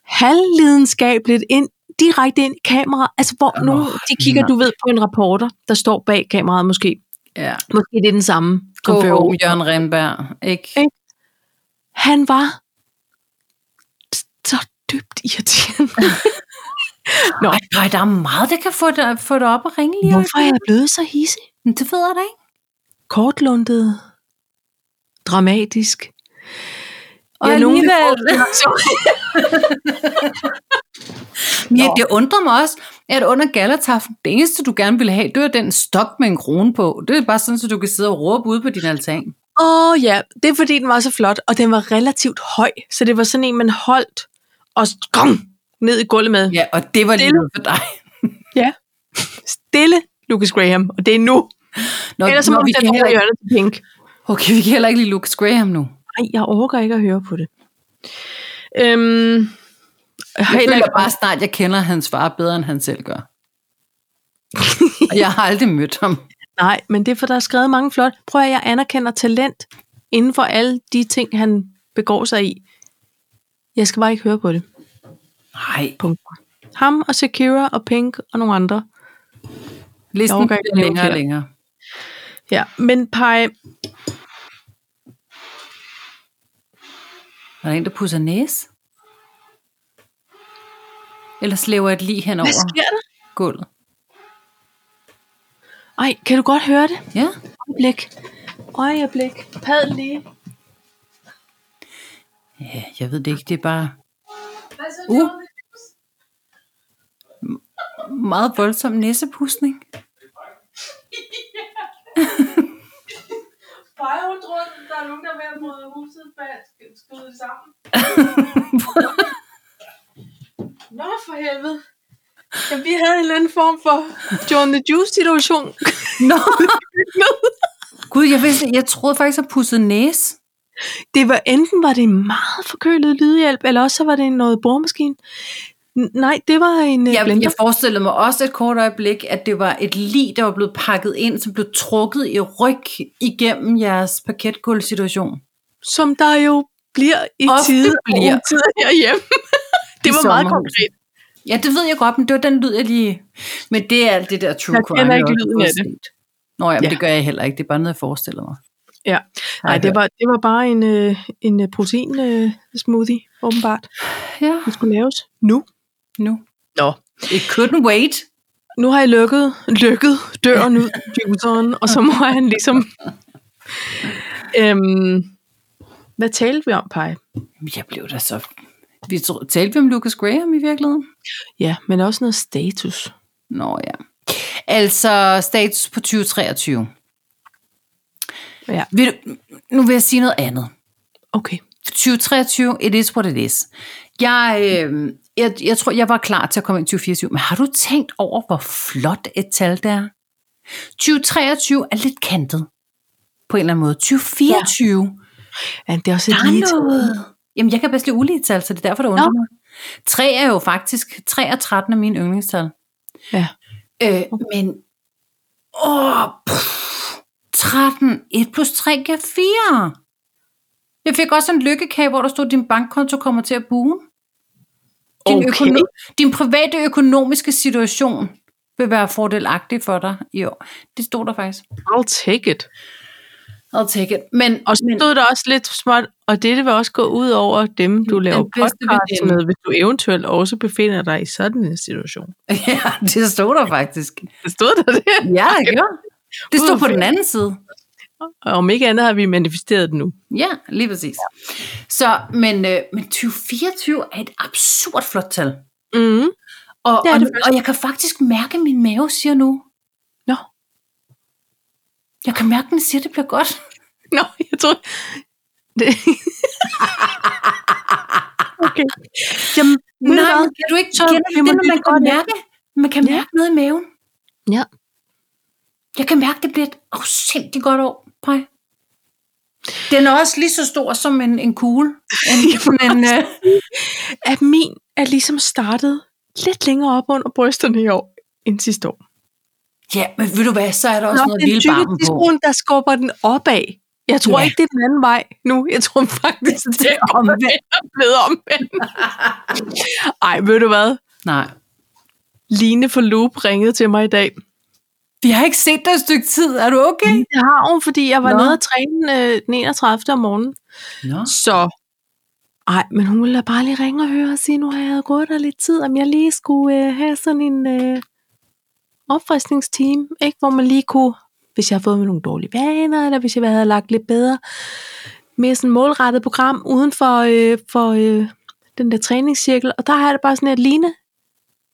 Speaker 1: halvlidenskabeligt ind, direkte ind i kameraet. Altså, hvor
Speaker 2: Åh,
Speaker 1: oh, nogen, de kigger,
Speaker 2: nej.
Speaker 1: du ved, på en reporter, der står bag kameraet måske.
Speaker 2: Ja.
Speaker 1: Måske det er den samme. som fører
Speaker 2: K.O.
Speaker 1: ord.
Speaker 2: Jørgen Renberg, ikke?
Speaker 1: Ikke? Han var så dybt irriterende.
Speaker 2: Nå, nej, der er meget, der kan få det, få det op og ringe lige.
Speaker 1: Hvorfor er jeg blevet så hisse?
Speaker 2: Men det ved jeg da ikke.
Speaker 1: Kortlundet. Dramatisk.
Speaker 2: Og alligevel. Ja,
Speaker 1: Nå.
Speaker 2: det undrer mig også, at under gallertaften, det eneste, du gerne ville have, det var den stok med en krone på. Det er bare sådan, så du kan sidde og råbe ude på din altan.
Speaker 1: Åh oh, ja, det er fordi, den var så flot, og den var relativt høj. Så det var sådan en, man holdt og s- gong, ned i gulvet med.
Speaker 2: Ja, og det var lige
Speaker 1: Stille.
Speaker 2: noget for dig.
Speaker 1: Stille, Lucas Graham, og det er nu.
Speaker 2: Nå,
Speaker 1: Ellers så må
Speaker 2: nå,
Speaker 1: vi sætte
Speaker 2: kan
Speaker 1: over
Speaker 2: heller
Speaker 1: i
Speaker 2: ikke,
Speaker 1: hjørnet til pink.
Speaker 2: okay, vi kan heller ikke lide Lucas Graham nu.
Speaker 1: Nej, jeg overgår ikke at høre på det. Øhm, jeg
Speaker 2: Jeg
Speaker 1: heller
Speaker 2: føler
Speaker 1: ikke
Speaker 2: bare snart, jeg kender hans far bedre, end han selv gør. Og jeg har aldrig mødt ham.
Speaker 1: Nej, men det er for, der er skrevet mange flot. Prøv at jeg anerkender talent inden for alle de ting, han begår sig i. Jeg skal bare ikke høre på det.
Speaker 2: Nej,
Speaker 1: Punkt. Ham og Shakira og Pink og nogle andre.
Speaker 2: listen
Speaker 1: Jeg overgår ikke
Speaker 2: bliver
Speaker 1: at leve
Speaker 2: længere og
Speaker 1: her.
Speaker 2: længere.
Speaker 1: Ja, men pege,
Speaker 2: Er der en, der pusser næse? Eller slæver et lig hen
Speaker 1: hvad
Speaker 2: over
Speaker 1: sker der?
Speaker 2: gulvet?
Speaker 1: Ej, kan du godt høre det?
Speaker 2: Ja.
Speaker 1: Øjeblik. Øjeblik. Padel lige.
Speaker 2: ja, jeg ved det ikke. Det er bare
Speaker 1: Uh.
Speaker 2: Uh. meget voldsom næsepusning.
Speaker 1: Pege hun tror, der er nogen, der er ved at bryde huset bag skuddet sammen. Nå for helvede. Ja, vi havde en eller anden form for John the Juice situation.
Speaker 2: Nå! Gud, jeg, vidste, jeg troede faktisk, at pusset næse.
Speaker 1: Det var enten var det en meget forkølet lydhjælp, eller også så var det noget boremaskine. N- nej, det var en jeg,
Speaker 2: Jeg,
Speaker 1: blender.
Speaker 2: jeg forestillede mig også et kort øjeblik, at det var et lig, der var blevet pakket ind, som blev trukket i ryg igennem jeres parketgulvsituation.
Speaker 1: Som der jo bliver i
Speaker 2: Ofte
Speaker 1: tide
Speaker 2: bliver.
Speaker 1: og utide herhjemme. det
Speaker 2: I
Speaker 1: var meget
Speaker 2: sommerhuset.
Speaker 1: konkret.
Speaker 2: Ja, det ved jeg godt, men det var den lyd, jeg lige... Men det er alt det der true
Speaker 1: Jeg
Speaker 2: crime.
Speaker 1: kender ikke
Speaker 2: også
Speaker 1: lyden
Speaker 2: har
Speaker 1: af det.
Speaker 2: set. Nå ja, men
Speaker 1: Ja.
Speaker 2: ja. det gør jeg heller ikke. Det er bare noget, jeg forestiller mig.
Speaker 1: Ja.
Speaker 2: Har
Speaker 1: Nej,
Speaker 2: jeg
Speaker 1: det
Speaker 2: hørt.
Speaker 1: var, det var bare en, øh, en øh, protein øh, smoothie, åbenbart.
Speaker 2: Ja,
Speaker 1: Det skulle laves nu.
Speaker 2: nu.
Speaker 1: Nå.
Speaker 2: It couldn't wait.
Speaker 1: Nu har jeg lukket, lukket døren ud, juiceren, og så må han ligesom... Øhm, hvad talte vi om, Paj?
Speaker 2: Jeg blev da så... Vi tro- talte vi om Lucas Graham i virkeligheden?
Speaker 1: Ja, men også noget status.
Speaker 2: Nå ja. Altså, status på 2023.
Speaker 1: Ja,
Speaker 2: Vil du, nu vil jeg sige noget andet.
Speaker 1: okay.
Speaker 2: 2023, it is what it is. Jeg, øh, jeg, jeg tror, jeg var klar til at komme ind i 2024, men har du tænkt over, hvor flot et tal det er? 2023 er lidt kantet på en eller anden måde. 2024, ja.
Speaker 1: Ja, det er også et
Speaker 2: der
Speaker 1: lige
Speaker 2: er noget. Jamen, jeg kan bedst lide ulige tal, så det er derfor, det undrer mig. 3 er jo faktisk, 3 og 13 er mine yndlingstal.
Speaker 1: Ja.
Speaker 2: Øh, men, åh, pff, 13, 1 plus 3 giver 4. Jeg fik også en lykkekage, hvor der stod, at din bankkonto kommer til at boome. Din,
Speaker 1: Okay.
Speaker 2: økono- din private økonomiske situation vil være fordelagtig for dig i år. Det stod der faktisk.
Speaker 1: I'll take it.
Speaker 2: I'll take it. Men,
Speaker 1: Og så
Speaker 2: men,
Speaker 1: stod der også lidt småt, og dette vil også gå ud over dem, du laver
Speaker 2: bedste
Speaker 1: podcast
Speaker 2: veninde.
Speaker 1: med, hvis du eventuelt også befinder dig i sådan en situation.
Speaker 2: ja, det stod der faktisk.
Speaker 1: Det stod der det.
Speaker 2: Ja, det gjorde. Det stod på
Speaker 1: Udefra.
Speaker 2: den anden side.
Speaker 1: Og om ikke andet har vi manifesteret det nu.
Speaker 2: Ja, lige præcis. Så, men, øh, men 2024 er et absurd flot tal.
Speaker 1: Mm.
Speaker 2: Og,
Speaker 1: Det er
Speaker 2: og,
Speaker 1: det faktisk.
Speaker 2: og jeg kan faktisk mærke, at min mave siger nu.
Speaker 1: Nå.
Speaker 2: Jeg kan mærke, at den siger, at det bliver godt.
Speaker 1: Nå, jeg tror... Det... okay. Jamen, ved du
Speaker 2: Nej,
Speaker 1: hvad?
Speaker 2: men kan du ikke
Speaker 1: Så
Speaker 2: kende
Speaker 1: vi
Speaker 2: det,
Speaker 1: må
Speaker 2: når man
Speaker 1: lytte
Speaker 2: kan
Speaker 1: godt
Speaker 2: mærke? Man kan
Speaker 1: Ja.
Speaker 2: mærke noget i maven.
Speaker 1: Ja.
Speaker 2: Jeg kan mærke, at det bliver et afsindig godt år, Paj. Den er også lige så stor som en, en kugle. En, en, øh,
Speaker 1: at min er ligesom startet lidt længere op under brysterne i år end sidste år.
Speaker 2: ja, men ved du hvad, så er der også Nå, noget
Speaker 1: det er
Speaker 2: vildt barmen på.
Speaker 1: tykketisbrun, der skubber den opad. Jeg tror
Speaker 2: Ja.
Speaker 1: ikke, det er den anden vej nu. Jeg tror faktisk, det er
Speaker 2: omvendt.
Speaker 1: blevet omvendt. Ej, ved du hvad?
Speaker 2: Nej.
Speaker 1: Line for Loop ringede til mig i dag.
Speaker 2: Vi har ikke set dig et stykke tid. Er du okay?
Speaker 1: Det har hun, fordi jeg var
Speaker 2: Nå.
Speaker 1: nede at træne øh, den 31. om morgenen.
Speaker 2: Nå.
Speaker 1: Så, ej, men hun ville da bare lige ringe og høre og sige, nu har jeg gået der lidt tid, om jeg lige skulle øh, have sådan en øh, opfriskningsteam, ikke? hvor man lige kunne, hvis jeg har fået med nogle dårlige vaner, eller hvis jeg havde lagt lidt bedre, mere sådan målrettet program uden for, øh, for øh, den der træningscirkel. Og der har jeg det bare sådan, at Line,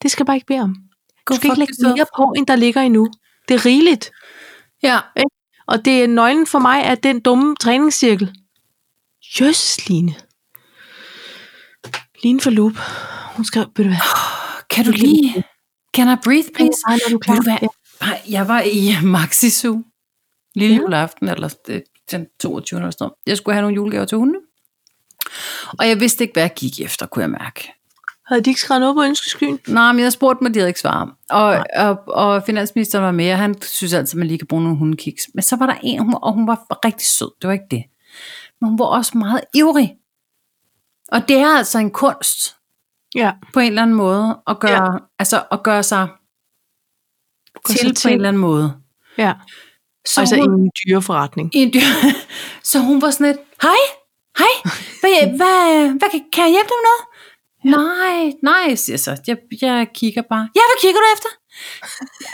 Speaker 1: det skal jeg bare ikke bede om. Du skal
Speaker 2: Go fuck
Speaker 1: ikke lægge
Speaker 2: yourself.
Speaker 1: mere på, end der ligger endnu. Det er rigeligt.
Speaker 2: Ja.
Speaker 1: Og det er nøglen for mig er den dumme træningscirkel. Jøsses, Line. Line for loop. Hun skrev, ved du hvad?
Speaker 2: Kan du lige... Can I breathe, please?
Speaker 1: Ej, når du
Speaker 2: Ved du
Speaker 1: klar.
Speaker 2: hvad? Ej, Jeg var i Maxi Zoo lille
Speaker 1: Ja.
Speaker 2: ja. juleaften, eller det- den 22. eller sådan noget. Jeg skulle have nogle julegaver til hundene. Og jeg vidste ikke, hvad jeg gik efter, kunne jeg mærke.
Speaker 1: Havde de ikke skrevet noget på ønskeskyen?
Speaker 2: Nej, men jeg spurgte mig, de havde ikke svaret. Og, og, og finansministeren var med, og han synes altid, at man lige kan bruge nogle hundekiks. Men så var der en, hun- og hun var rigtig sød, det var ikke det. Men hun var også meget ivrig. Og det er altså en kunst,
Speaker 1: Ja.
Speaker 2: på en eller anden måde at gøre, ja. altså at gøre sig
Speaker 1: sig
Speaker 2: til, til på
Speaker 1: til.
Speaker 2: en eller anden måde.
Speaker 1: ja. Så altså
Speaker 2: hun,
Speaker 1: hun... en dyreforretning.
Speaker 2: i en dyr... Så hun var sådan lidt, hej, hej, hvad, hvad, hvad kan, kan jeg hjælpe dig med noget? Nej, nej, siger jeg så. Jeg, jeg kigger bare. Ja, hvad kigger du efter?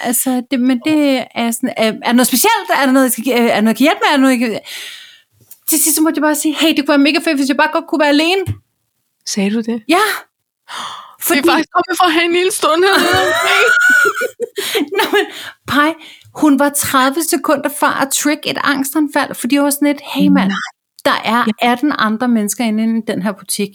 Speaker 2: altså, det, men det er sådan, er, er der noget specielt? Er der noget, jeg skal, gi- er der noget, jeg kan hjælpe med? Er der noget, jeg kan... Til sidst så måtte jeg bare sige, hey, det kunne være mega fedt, hvis jeg bare godt kunne være alene.
Speaker 1: Sagde du det?
Speaker 2: Ja.
Speaker 1: Fordi...
Speaker 2: Fordi,
Speaker 1: Vi er faktisk kommet for at have en lille stund hernede.
Speaker 2: Nå, men, Pai, hun var 30 sekunder fra at trick et angstanfald, fordi jeg var sådan lidt, hey mand, der er 18 andre mennesker inde i den her butik.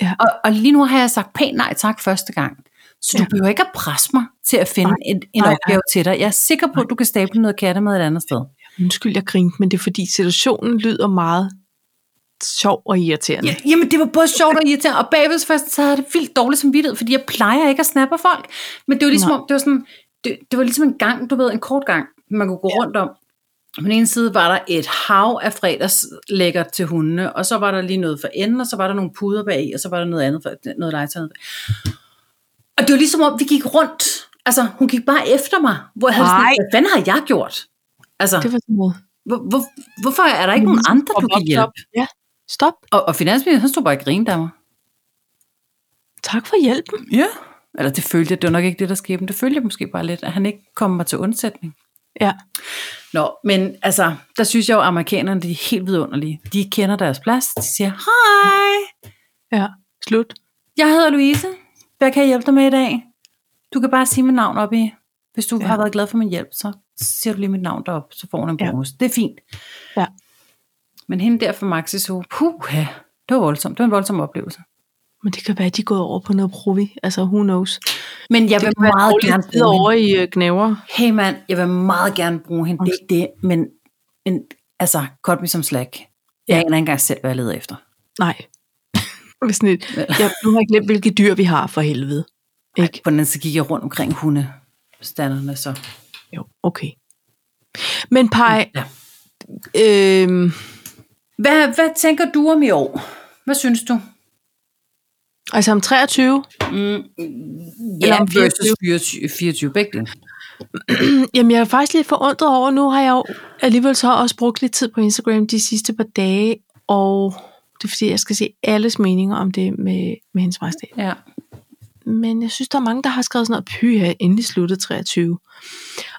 Speaker 1: Ja.
Speaker 2: Og, og lige nu har jeg sagt pænt nej tak første gang. Så du
Speaker 1: Ja.
Speaker 2: behøver ikke at presse mig til at finde
Speaker 1: Nej,
Speaker 2: en, en
Speaker 1: nej, nej.
Speaker 2: opgave til dig. Jeg er sikker på, at du kan stable noget kattemad et andet sted.
Speaker 1: Undskyld, jeg grinte, men det er fordi situationen lyder meget sjov og irriterende.
Speaker 2: Ja, jamen, det var både sjovt og irriterende, og bagved først, så havde jeg det vildt dårligt som vidtighed, fordi jeg plejer ikke at snappe folk. Men det var ligesom,
Speaker 1: Nej.
Speaker 2: om, det var sådan, det, det var ligesom en gang, du ved, en kort gang, man kunne gå ja. rundt om. På den ene side var der et hav af fredagslækker til hundene, og så var der lige noget for enden, og så var der nogle puder bag, og så var der noget andet, for, noget legetøj. Og det var ligesom om, vi gik rundt. Altså, hun gik bare efter mig, hvor jeg havde det sådan,
Speaker 1: Ej.
Speaker 2: hvad fanden har jeg gjort? Altså,
Speaker 1: Det ligesom var sådan noget.
Speaker 2: hvor, hvor, hvorfor er der ikke nogen andre, du kan hjælpe?
Speaker 1: Ja. Stop.
Speaker 2: Og, og finansministeren, han stod bare og grinede af mig.
Speaker 1: Tak for hjælpen.
Speaker 2: Ja. Eller det følte jeg, det var nok ikke det, der skete, men det følte jeg måske bare lidt, at han ikke kom mig til undsætning.
Speaker 1: Ja.
Speaker 2: Nå, men altså, der synes jeg jo, at amerikanerne, de er helt vidunderlige. De kender deres plads, de siger, hej,
Speaker 1: Ja. Slut.
Speaker 2: jeg hedder Louise, hvad kan jeg hjælpe dig med i dag? Du kan bare sige mit navn op i, hvis du ja.
Speaker 1: Ja.
Speaker 2: har været glad for min hjælp, så siger du lige mit navn derop, så får hun en
Speaker 1: Ja.
Speaker 2: bonus. Ja. Det er fint.
Speaker 1: Ja.
Speaker 2: Men hende der fra Maxiso, puh, det var voldsomt. Det var en voldsom oplevelse.
Speaker 1: Men det kan være, at de er gået over på noget provi. Altså, who knows.
Speaker 2: Men jeg
Speaker 1: det
Speaker 2: vil
Speaker 1: kan være
Speaker 2: meget
Speaker 1: dårlige
Speaker 2: gerne
Speaker 1: tider
Speaker 2: bruge hende.
Speaker 1: over i øh, gnaver.
Speaker 2: hey mand, jeg vil meget gerne bruge hende, det er ikke det, men, men altså, cut me som slack. Jeg aner ikke engang selv, hvad jeg leder efter.
Speaker 1: Nej. Det var sådan et, jeg, nu har jeg glemt, hvilke dyr vi har for helvede. Ikke?
Speaker 2: På den anden side gik jeg rundt omkring hundestanderne, så
Speaker 1: Jo, okay. Men Paj,
Speaker 2: ja.
Speaker 1: øhm,
Speaker 2: Hvad, hvad tænker du om i år? Hvad synes du?
Speaker 1: Mm, altså om 23,
Speaker 2: Mm,
Speaker 1: Eller
Speaker 2: ja,
Speaker 1: om
Speaker 2: versus 24, 24 begge dele.
Speaker 1: jamen jeg er faktisk lidt forundret over, nu har jeg jo alligevel så også brugt lidt tid på Instagram de sidste par dage, og det er fordi, jeg skal se alles meninger om det med, med hendes majestæt.
Speaker 2: Ja.
Speaker 1: Men jeg synes, der er mange, der har skrevet sådan noget, pyha, endelig sluttet 23.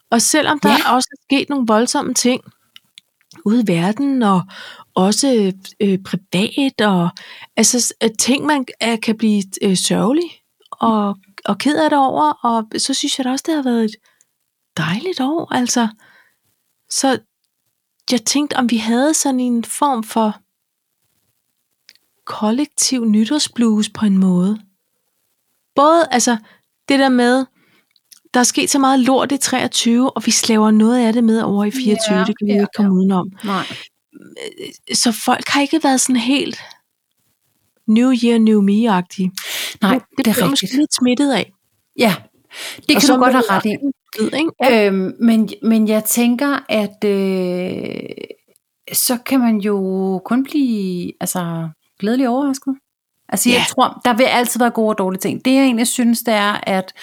Speaker 1: Og selvom der
Speaker 2: Ja.
Speaker 1: ja. også er sket nogle voldsomme ting ude i verden, og også øh, privat, og altså s- øh, ting, man øh, kan blive øh, sørgelig og, og ked af det over, og så synes jeg da også, det har været et dejligt år, altså. Så jeg tænkte, om vi havde sådan en form for kollektiv nytårsblues på en måde både altså det der med, der er sket så meget lort i 23, og vi slaver noget af det med over i 24,
Speaker 2: Ja,
Speaker 1: yeah, det kan vi
Speaker 2: ja,
Speaker 1: yeah, ikke komme yeah. udenom.
Speaker 2: Nej.
Speaker 1: Så folk har ikke været sådan helt New Year, New Me-agtige.
Speaker 2: Nej,
Speaker 1: det, det
Speaker 2: det er
Speaker 1: bliver
Speaker 2: rigtigt.
Speaker 1: måske lidt smittet af.
Speaker 2: Ja, det
Speaker 1: Og
Speaker 2: kan
Speaker 1: så
Speaker 2: du godt
Speaker 1: med-
Speaker 2: have ret i.
Speaker 1: Ved, ikke?
Speaker 2: Øhm, men, men jeg tænker, at øh, så kan man jo kun blive altså, glædelig overrasket. Altså, yeah. jeg
Speaker 1: Ja.
Speaker 2: tror, der vil altid være gode og dårlige ting. Det, jeg egentlig synes, det er, at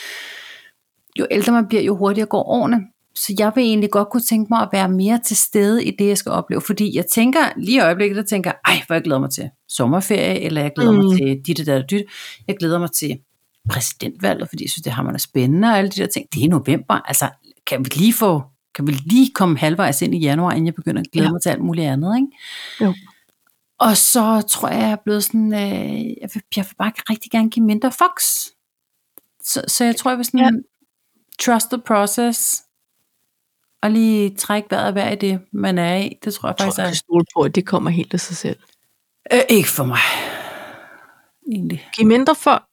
Speaker 2: jo ældre man bliver, jo hurtigere går årene. Så jeg vil egentlig godt kunne tænke mig at være mere til stede i det, jeg skal opleve. Fordi jeg tænker lige i øjeblikket, der tænker, ej, hvor jeg glæder mig til sommerferie, eller jeg glæder mm. mig
Speaker 1: Mm.
Speaker 2: til dit og dat og dyt. Jeg glæder mig til præsidentvalget, fordi jeg synes, det har man er spændende, og alle de der ting. Det er i november. Altså, kan vi lige få kan vi lige komme halvvejs ind i januar, inden jeg begynder at glæde ja.
Speaker 1: Ja.
Speaker 2: mig til alt muligt andet, ikke?
Speaker 1: Jo.
Speaker 2: Og så tror jeg, jeg er blevet sådan, øh, jeg, vil, jeg vil bare rigtig gerne give mindre fox. Så, så jeg tror, jeg vil sådan, ja.
Speaker 1: Ja.
Speaker 2: trust the process, og lige trække vejret hver i det, man er i. Det tror jeg
Speaker 1: Jeg
Speaker 2: faktisk
Speaker 1: tror, jeg kan
Speaker 2: er...
Speaker 1: stole på, at det kommer helt af sig selv.
Speaker 2: Øh, ikke for mig. Egentlig.
Speaker 1: Giv mindre for...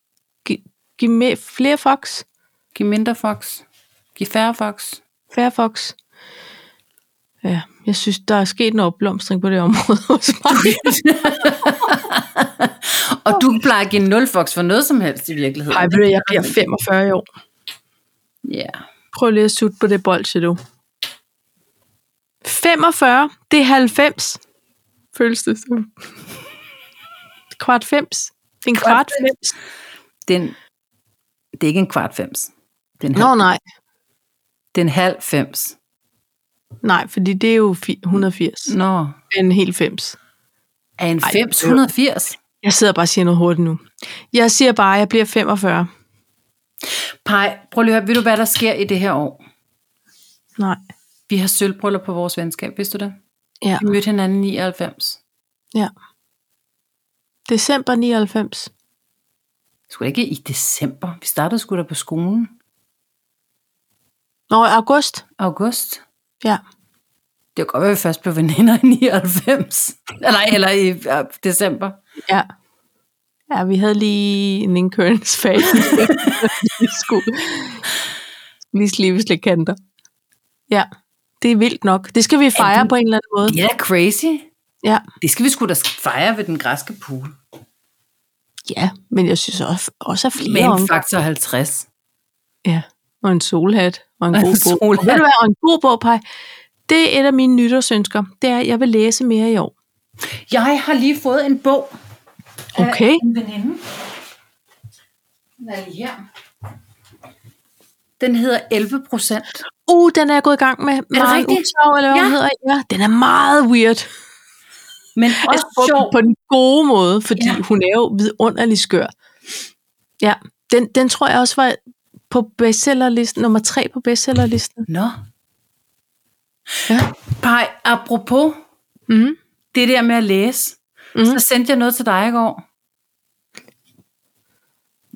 Speaker 1: Giv, giv med, flere fox.
Speaker 2: Giv mindre fox. Giv færre fox.
Speaker 1: Færre fox. Ja, jeg synes, der er sket en opblomstring på det område hos mig.
Speaker 2: Og du plejer at give en nulfoks for noget som helst i virkeligheden.
Speaker 1: Ej, ved du, jeg bliver 45 i år.
Speaker 2: Ja.
Speaker 1: Prøv lige at sutte på det bolsje, du. 45, det er 90. Føles det som. Kvart 50. Det er en
Speaker 2: Kvart
Speaker 1: kvart 50.
Speaker 2: Den, det er ikke en kvart fems. Det er en halv,
Speaker 1: Nå nej,
Speaker 2: det er en halv fems.
Speaker 1: Nej, fordi det er jo fi- 180.
Speaker 2: Nå,
Speaker 1: En hel fems.
Speaker 2: er en
Speaker 1: Ej,
Speaker 2: 580?
Speaker 1: Jeg sidder bare og siger noget hurtigt nu. Jeg siger bare, at jeg bliver 45.
Speaker 2: Pej, prøv lige at høre, ved du hvad der sker i det her år?
Speaker 1: Nej.
Speaker 2: Vi har sølvbryllup på vores venskab, vidste du det?
Speaker 1: Ja.
Speaker 2: Vi mødte hinanden i 99.
Speaker 1: ja. December 99.
Speaker 2: Skulle ikke i december? Vi startede sgu da på skolen.
Speaker 1: Nå, i august.
Speaker 2: August.
Speaker 1: Ja.
Speaker 2: Det var godt, at vi først blev veninder i 99. Nej, eller i øh, december.
Speaker 1: Ja. Ja, vi havde lige en incurrence-fase. vi skulle lige slive lidt kanter. Ja, det er vildt nok. Det skal vi fejre på en eller anden måde.
Speaker 2: Det er da crazy.
Speaker 1: Ja.
Speaker 2: Det skal vi sgu da fejre ved den græske pool.
Speaker 1: ja, men jeg synes også, også at
Speaker 2: Med
Speaker 1: flere
Speaker 2: en
Speaker 1: omgange.
Speaker 2: faktor 50.
Speaker 1: Ja, og en solhat, og en
Speaker 2: Og en
Speaker 1: god bog. Og,
Speaker 2: solhat.
Speaker 1: ved du hvad, og en god bog, Paj. Det er et af mine nytårsønsker. Det er, at jeg vil læse mere i år.
Speaker 2: Jeg har lige fået en bog af
Speaker 1: Okay.
Speaker 2: en veninde. Den er lige her. Den hedder 11 procent.
Speaker 1: Uh, den er jeg gået i gang med. Er
Speaker 2: det rigtigt?
Speaker 1: eller hvad ja.
Speaker 2: Ja.
Speaker 1: hun hedder. Ja, den er meget weird.
Speaker 2: Men
Speaker 1: Altså
Speaker 2: også
Speaker 1: på,
Speaker 2: sjov.
Speaker 1: på den gode måde, fordi ja.
Speaker 2: Ja.
Speaker 1: hun er jo vidunderlig skør. Ja, den, den tror jeg også var på bestsellerlisten, nummer tre på bestsellerlisten.
Speaker 2: Nå.
Speaker 1: Ja.
Speaker 2: Pej, apropos
Speaker 1: Mm.
Speaker 2: det der med at læse,
Speaker 1: Mhm.
Speaker 2: mm. så sendte jeg noget til dig i går.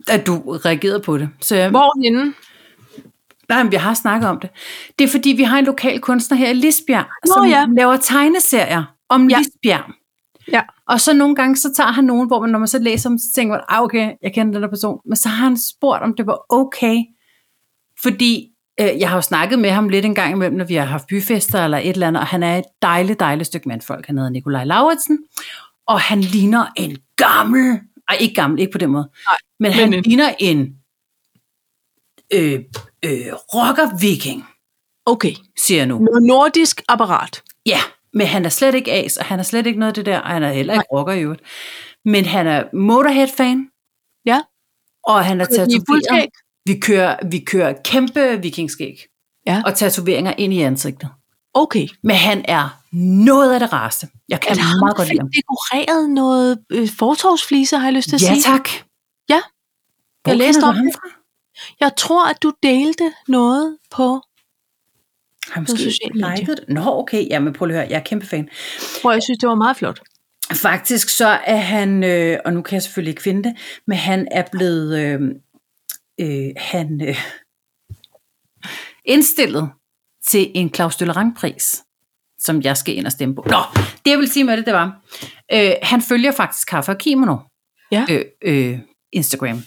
Speaker 2: At du reagerede på det. Så jeg,
Speaker 1: Hvorhenne?
Speaker 2: nej, men vi har snakket om det. Det er fordi, vi har en lokal kunstner her i Lisbjerg,
Speaker 1: Nå,
Speaker 2: som
Speaker 1: ja.
Speaker 2: laver tegneserier om
Speaker 1: Ja.
Speaker 2: ja. Lisbjerg.
Speaker 1: Ja.
Speaker 2: Og så nogle gange, så tager han nogen, hvor man, når man så læser om, så tænker man, ah, okay, jeg kender den der person. Men så har han spurgt, om det var okay. Fordi øh, jeg har jo snakket med ham lidt en gang imellem, når vi har haft byfester eller et eller andet, og han er et dejligt, dejligt stykke mandfolk. Han hedder Nikolaj Lauritsen, og han ligner en gammel, ej ikke gammel, ikke på den måde,
Speaker 1: Nej,
Speaker 2: men, men
Speaker 1: men
Speaker 2: han
Speaker 1: en-
Speaker 2: ligner en øh, øh, rocker-viking,
Speaker 1: Okay,
Speaker 2: siger jeg nu.
Speaker 1: noget nordisk apparat.
Speaker 2: Ja, men han er slet ikke as, og han er slet ikke noget af det der, og han er heller ikke rocker i øvrigt. Men han er Motorhead-fan,
Speaker 1: Ja,
Speaker 2: og han er
Speaker 1: Kører de i fuldskæg?
Speaker 2: tatoveret. Vi kører, vi kører kæmpe vikingskæg
Speaker 1: Ja.
Speaker 2: og tatoveringer ind i ansigtet.
Speaker 1: okay.
Speaker 2: Men han er noget af det rareste. Jeg kan
Speaker 1: Han har
Speaker 2: meget godt lide ham.
Speaker 1: dekoreret noget øh, fortorvsfliser, har jeg lyst til at
Speaker 2: Ja
Speaker 1: sige.
Speaker 2: tak.
Speaker 1: Ja.
Speaker 2: Hvor
Speaker 1: Jeg læste
Speaker 2: kender du
Speaker 1: om
Speaker 2: ham
Speaker 1: det.
Speaker 2: fra?
Speaker 1: Jeg tror, at du delte noget på,
Speaker 2: Har jeg måske
Speaker 1: sociale medier.
Speaker 2: liket det? Nå, okay. Jamen, prøv lige at høre. Jeg er kæmpe fan.
Speaker 1: hvor jeg synes, det var meget flot.
Speaker 2: Faktisk så er han, øh, og nu kan jeg selvfølgelig ikke finde det, men han er blevet, øh, øh, han øh, indstillet til en Claus Døllerang pris, som jeg skal ind og stemme på. Nå, det jeg vil sige med det, det var, øh, han følger faktisk Kaffe og Kimono.
Speaker 1: Ja.
Speaker 2: Øh, øh, Instagram.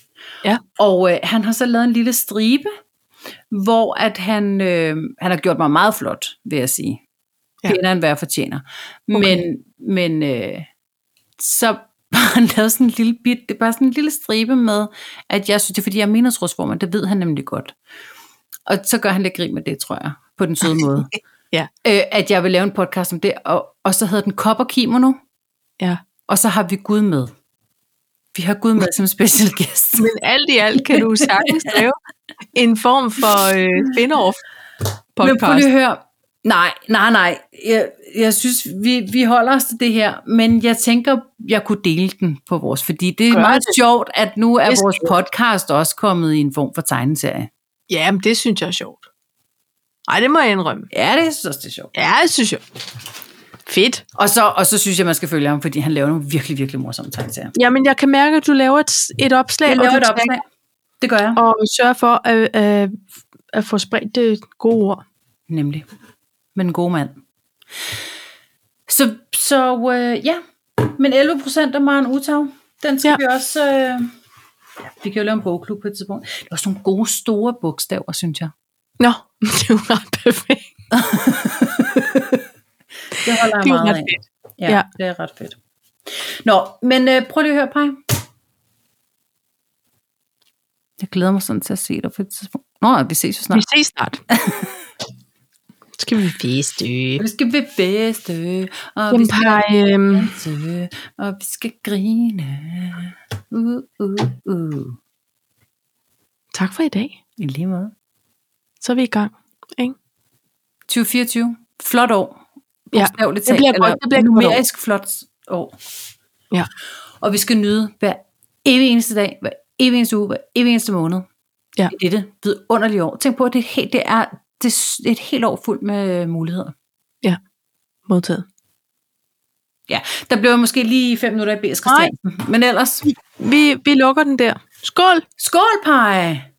Speaker 1: Ja.
Speaker 2: Og øh, han har så lavet en lille stribe, hvor at han, øh, han har gjort mig meget flot, vil jeg sige.
Speaker 1: Ja.
Speaker 2: Ja. Pænere end hvad jeg fortjener.
Speaker 1: Okay.
Speaker 2: Okay. Men, men øh, så har han lavet sådan en lille bit, det er bare sådan en lille stribe med, at jeg synes, det er fordi, jeg er menighedsrådsformand, det ved han nemlig godt. Og så gør han lidt grin med det, tror jeg, på den søde måde.
Speaker 1: Ja.
Speaker 2: Øh, at jeg vil lave en podcast om det, og, og så hedder den Kop og Kimono,
Speaker 1: Ja.
Speaker 2: og så har vi Gud med. Vi har Gud med som special guest.
Speaker 1: Men alt i alt kan du sagtens lave en form for øh, spin-off
Speaker 2: Men prøv
Speaker 1: podcast.
Speaker 2: lige at høre. Nej, nej, nej. Jeg, jeg synes, vi, vi holder os til det her, men jeg tænker, jeg kunne dele den på vores, fordi det er
Speaker 1: Gør
Speaker 2: Gør meget
Speaker 1: det.
Speaker 2: det. sjovt, at nu er
Speaker 1: Det skal
Speaker 2: vores
Speaker 1: du.
Speaker 2: podcast også kommet i en form for tegneserie.
Speaker 1: Ja, men det synes jeg er sjovt. Ej, det må jeg indrømme.
Speaker 2: Ja, det synes jeg også, det er sjovt.
Speaker 1: Ja, det synes jeg. Fedt.
Speaker 2: Og så, og så synes jeg, man skal følge ham, fordi han laver nogle virkelig, virkelig morsomme tegneserier.
Speaker 1: Jamen, jeg kan mærke, at du laver et, et opslag,
Speaker 2: Jeg
Speaker 1: og,
Speaker 2: laver
Speaker 1: du
Speaker 2: et
Speaker 1: tager-
Speaker 2: opslag. Det gør jeg.
Speaker 1: og sørger for at, øh, at få spredt det gode ord.
Speaker 2: Nemlig. Men en god mand. Så, så øh, ja. Men 11 procent af Maren Utau, den skal
Speaker 1: Ja.
Speaker 2: ja. vi også... Øh, ja, vi kan jo lave en bogklub på et tidspunkt. Der er også nogle gode, store bogstaver, synes jeg.
Speaker 1: Nå, det er jo ret perfekt.
Speaker 2: Det holder jeg
Speaker 1: Det er jo
Speaker 2: meget
Speaker 1: ret
Speaker 2: af.
Speaker 1: fedt.
Speaker 2: Ja,
Speaker 1: Ja.
Speaker 2: ja, det er ret fedt. Nå, men øh, prøv lige at høre, Paj. Jeg glæder mig sådan til at se dig på et tidspunkt. Nå, vi ses jo
Speaker 1: Vi
Speaker 2: snart.
Speaker 1: ses snart. Skal vi feste?
Speaker 2: Vi skal vi feste, og
Speaker 1: Jamen,
Speaker 2: vi skal
Speaker 1: Paj,
Speaker 2: Mm.
Speaker 1: øhm,
Speaker 2: danse, og vi skal grine. Uh, uh, uh.
Speaker 1: tak for i dag.
Speaker 2: I lige måde.
Speaker 1: Så er vi i gang. Ikke?
Speaker 2: 2024. flot år.
Speaker 1: Ja,
Speaker 2: Bogstaveligt
Speaker 1: det bliver
Speaker 2: talt,
Speaker 1: godt,
Speaker 2: eller
Speaker 1: det bliver et godt år.
Speaker 2: numerisk flot år.
Speaker 1: Ja.
Speaker 2: Og vi skal nyde hver evig eneste dag, hver evig eneste uge, hver evig eneste måned.
Speaker 1: Ja.
Speaker 2: I dette vidunderlige år. Tænk på, at det er, et helt, det er, det er s- et helt år fuldt med øh, muligheder.
Speaker 1: Modtaget.
Speaker 2: Ja, der blev jeg måske lige fem minutter i B.S. Christiansen. Men ellers,
Speaker 1: Vi, vi lukker den der. Skål!
Speaker 2: skål, pej!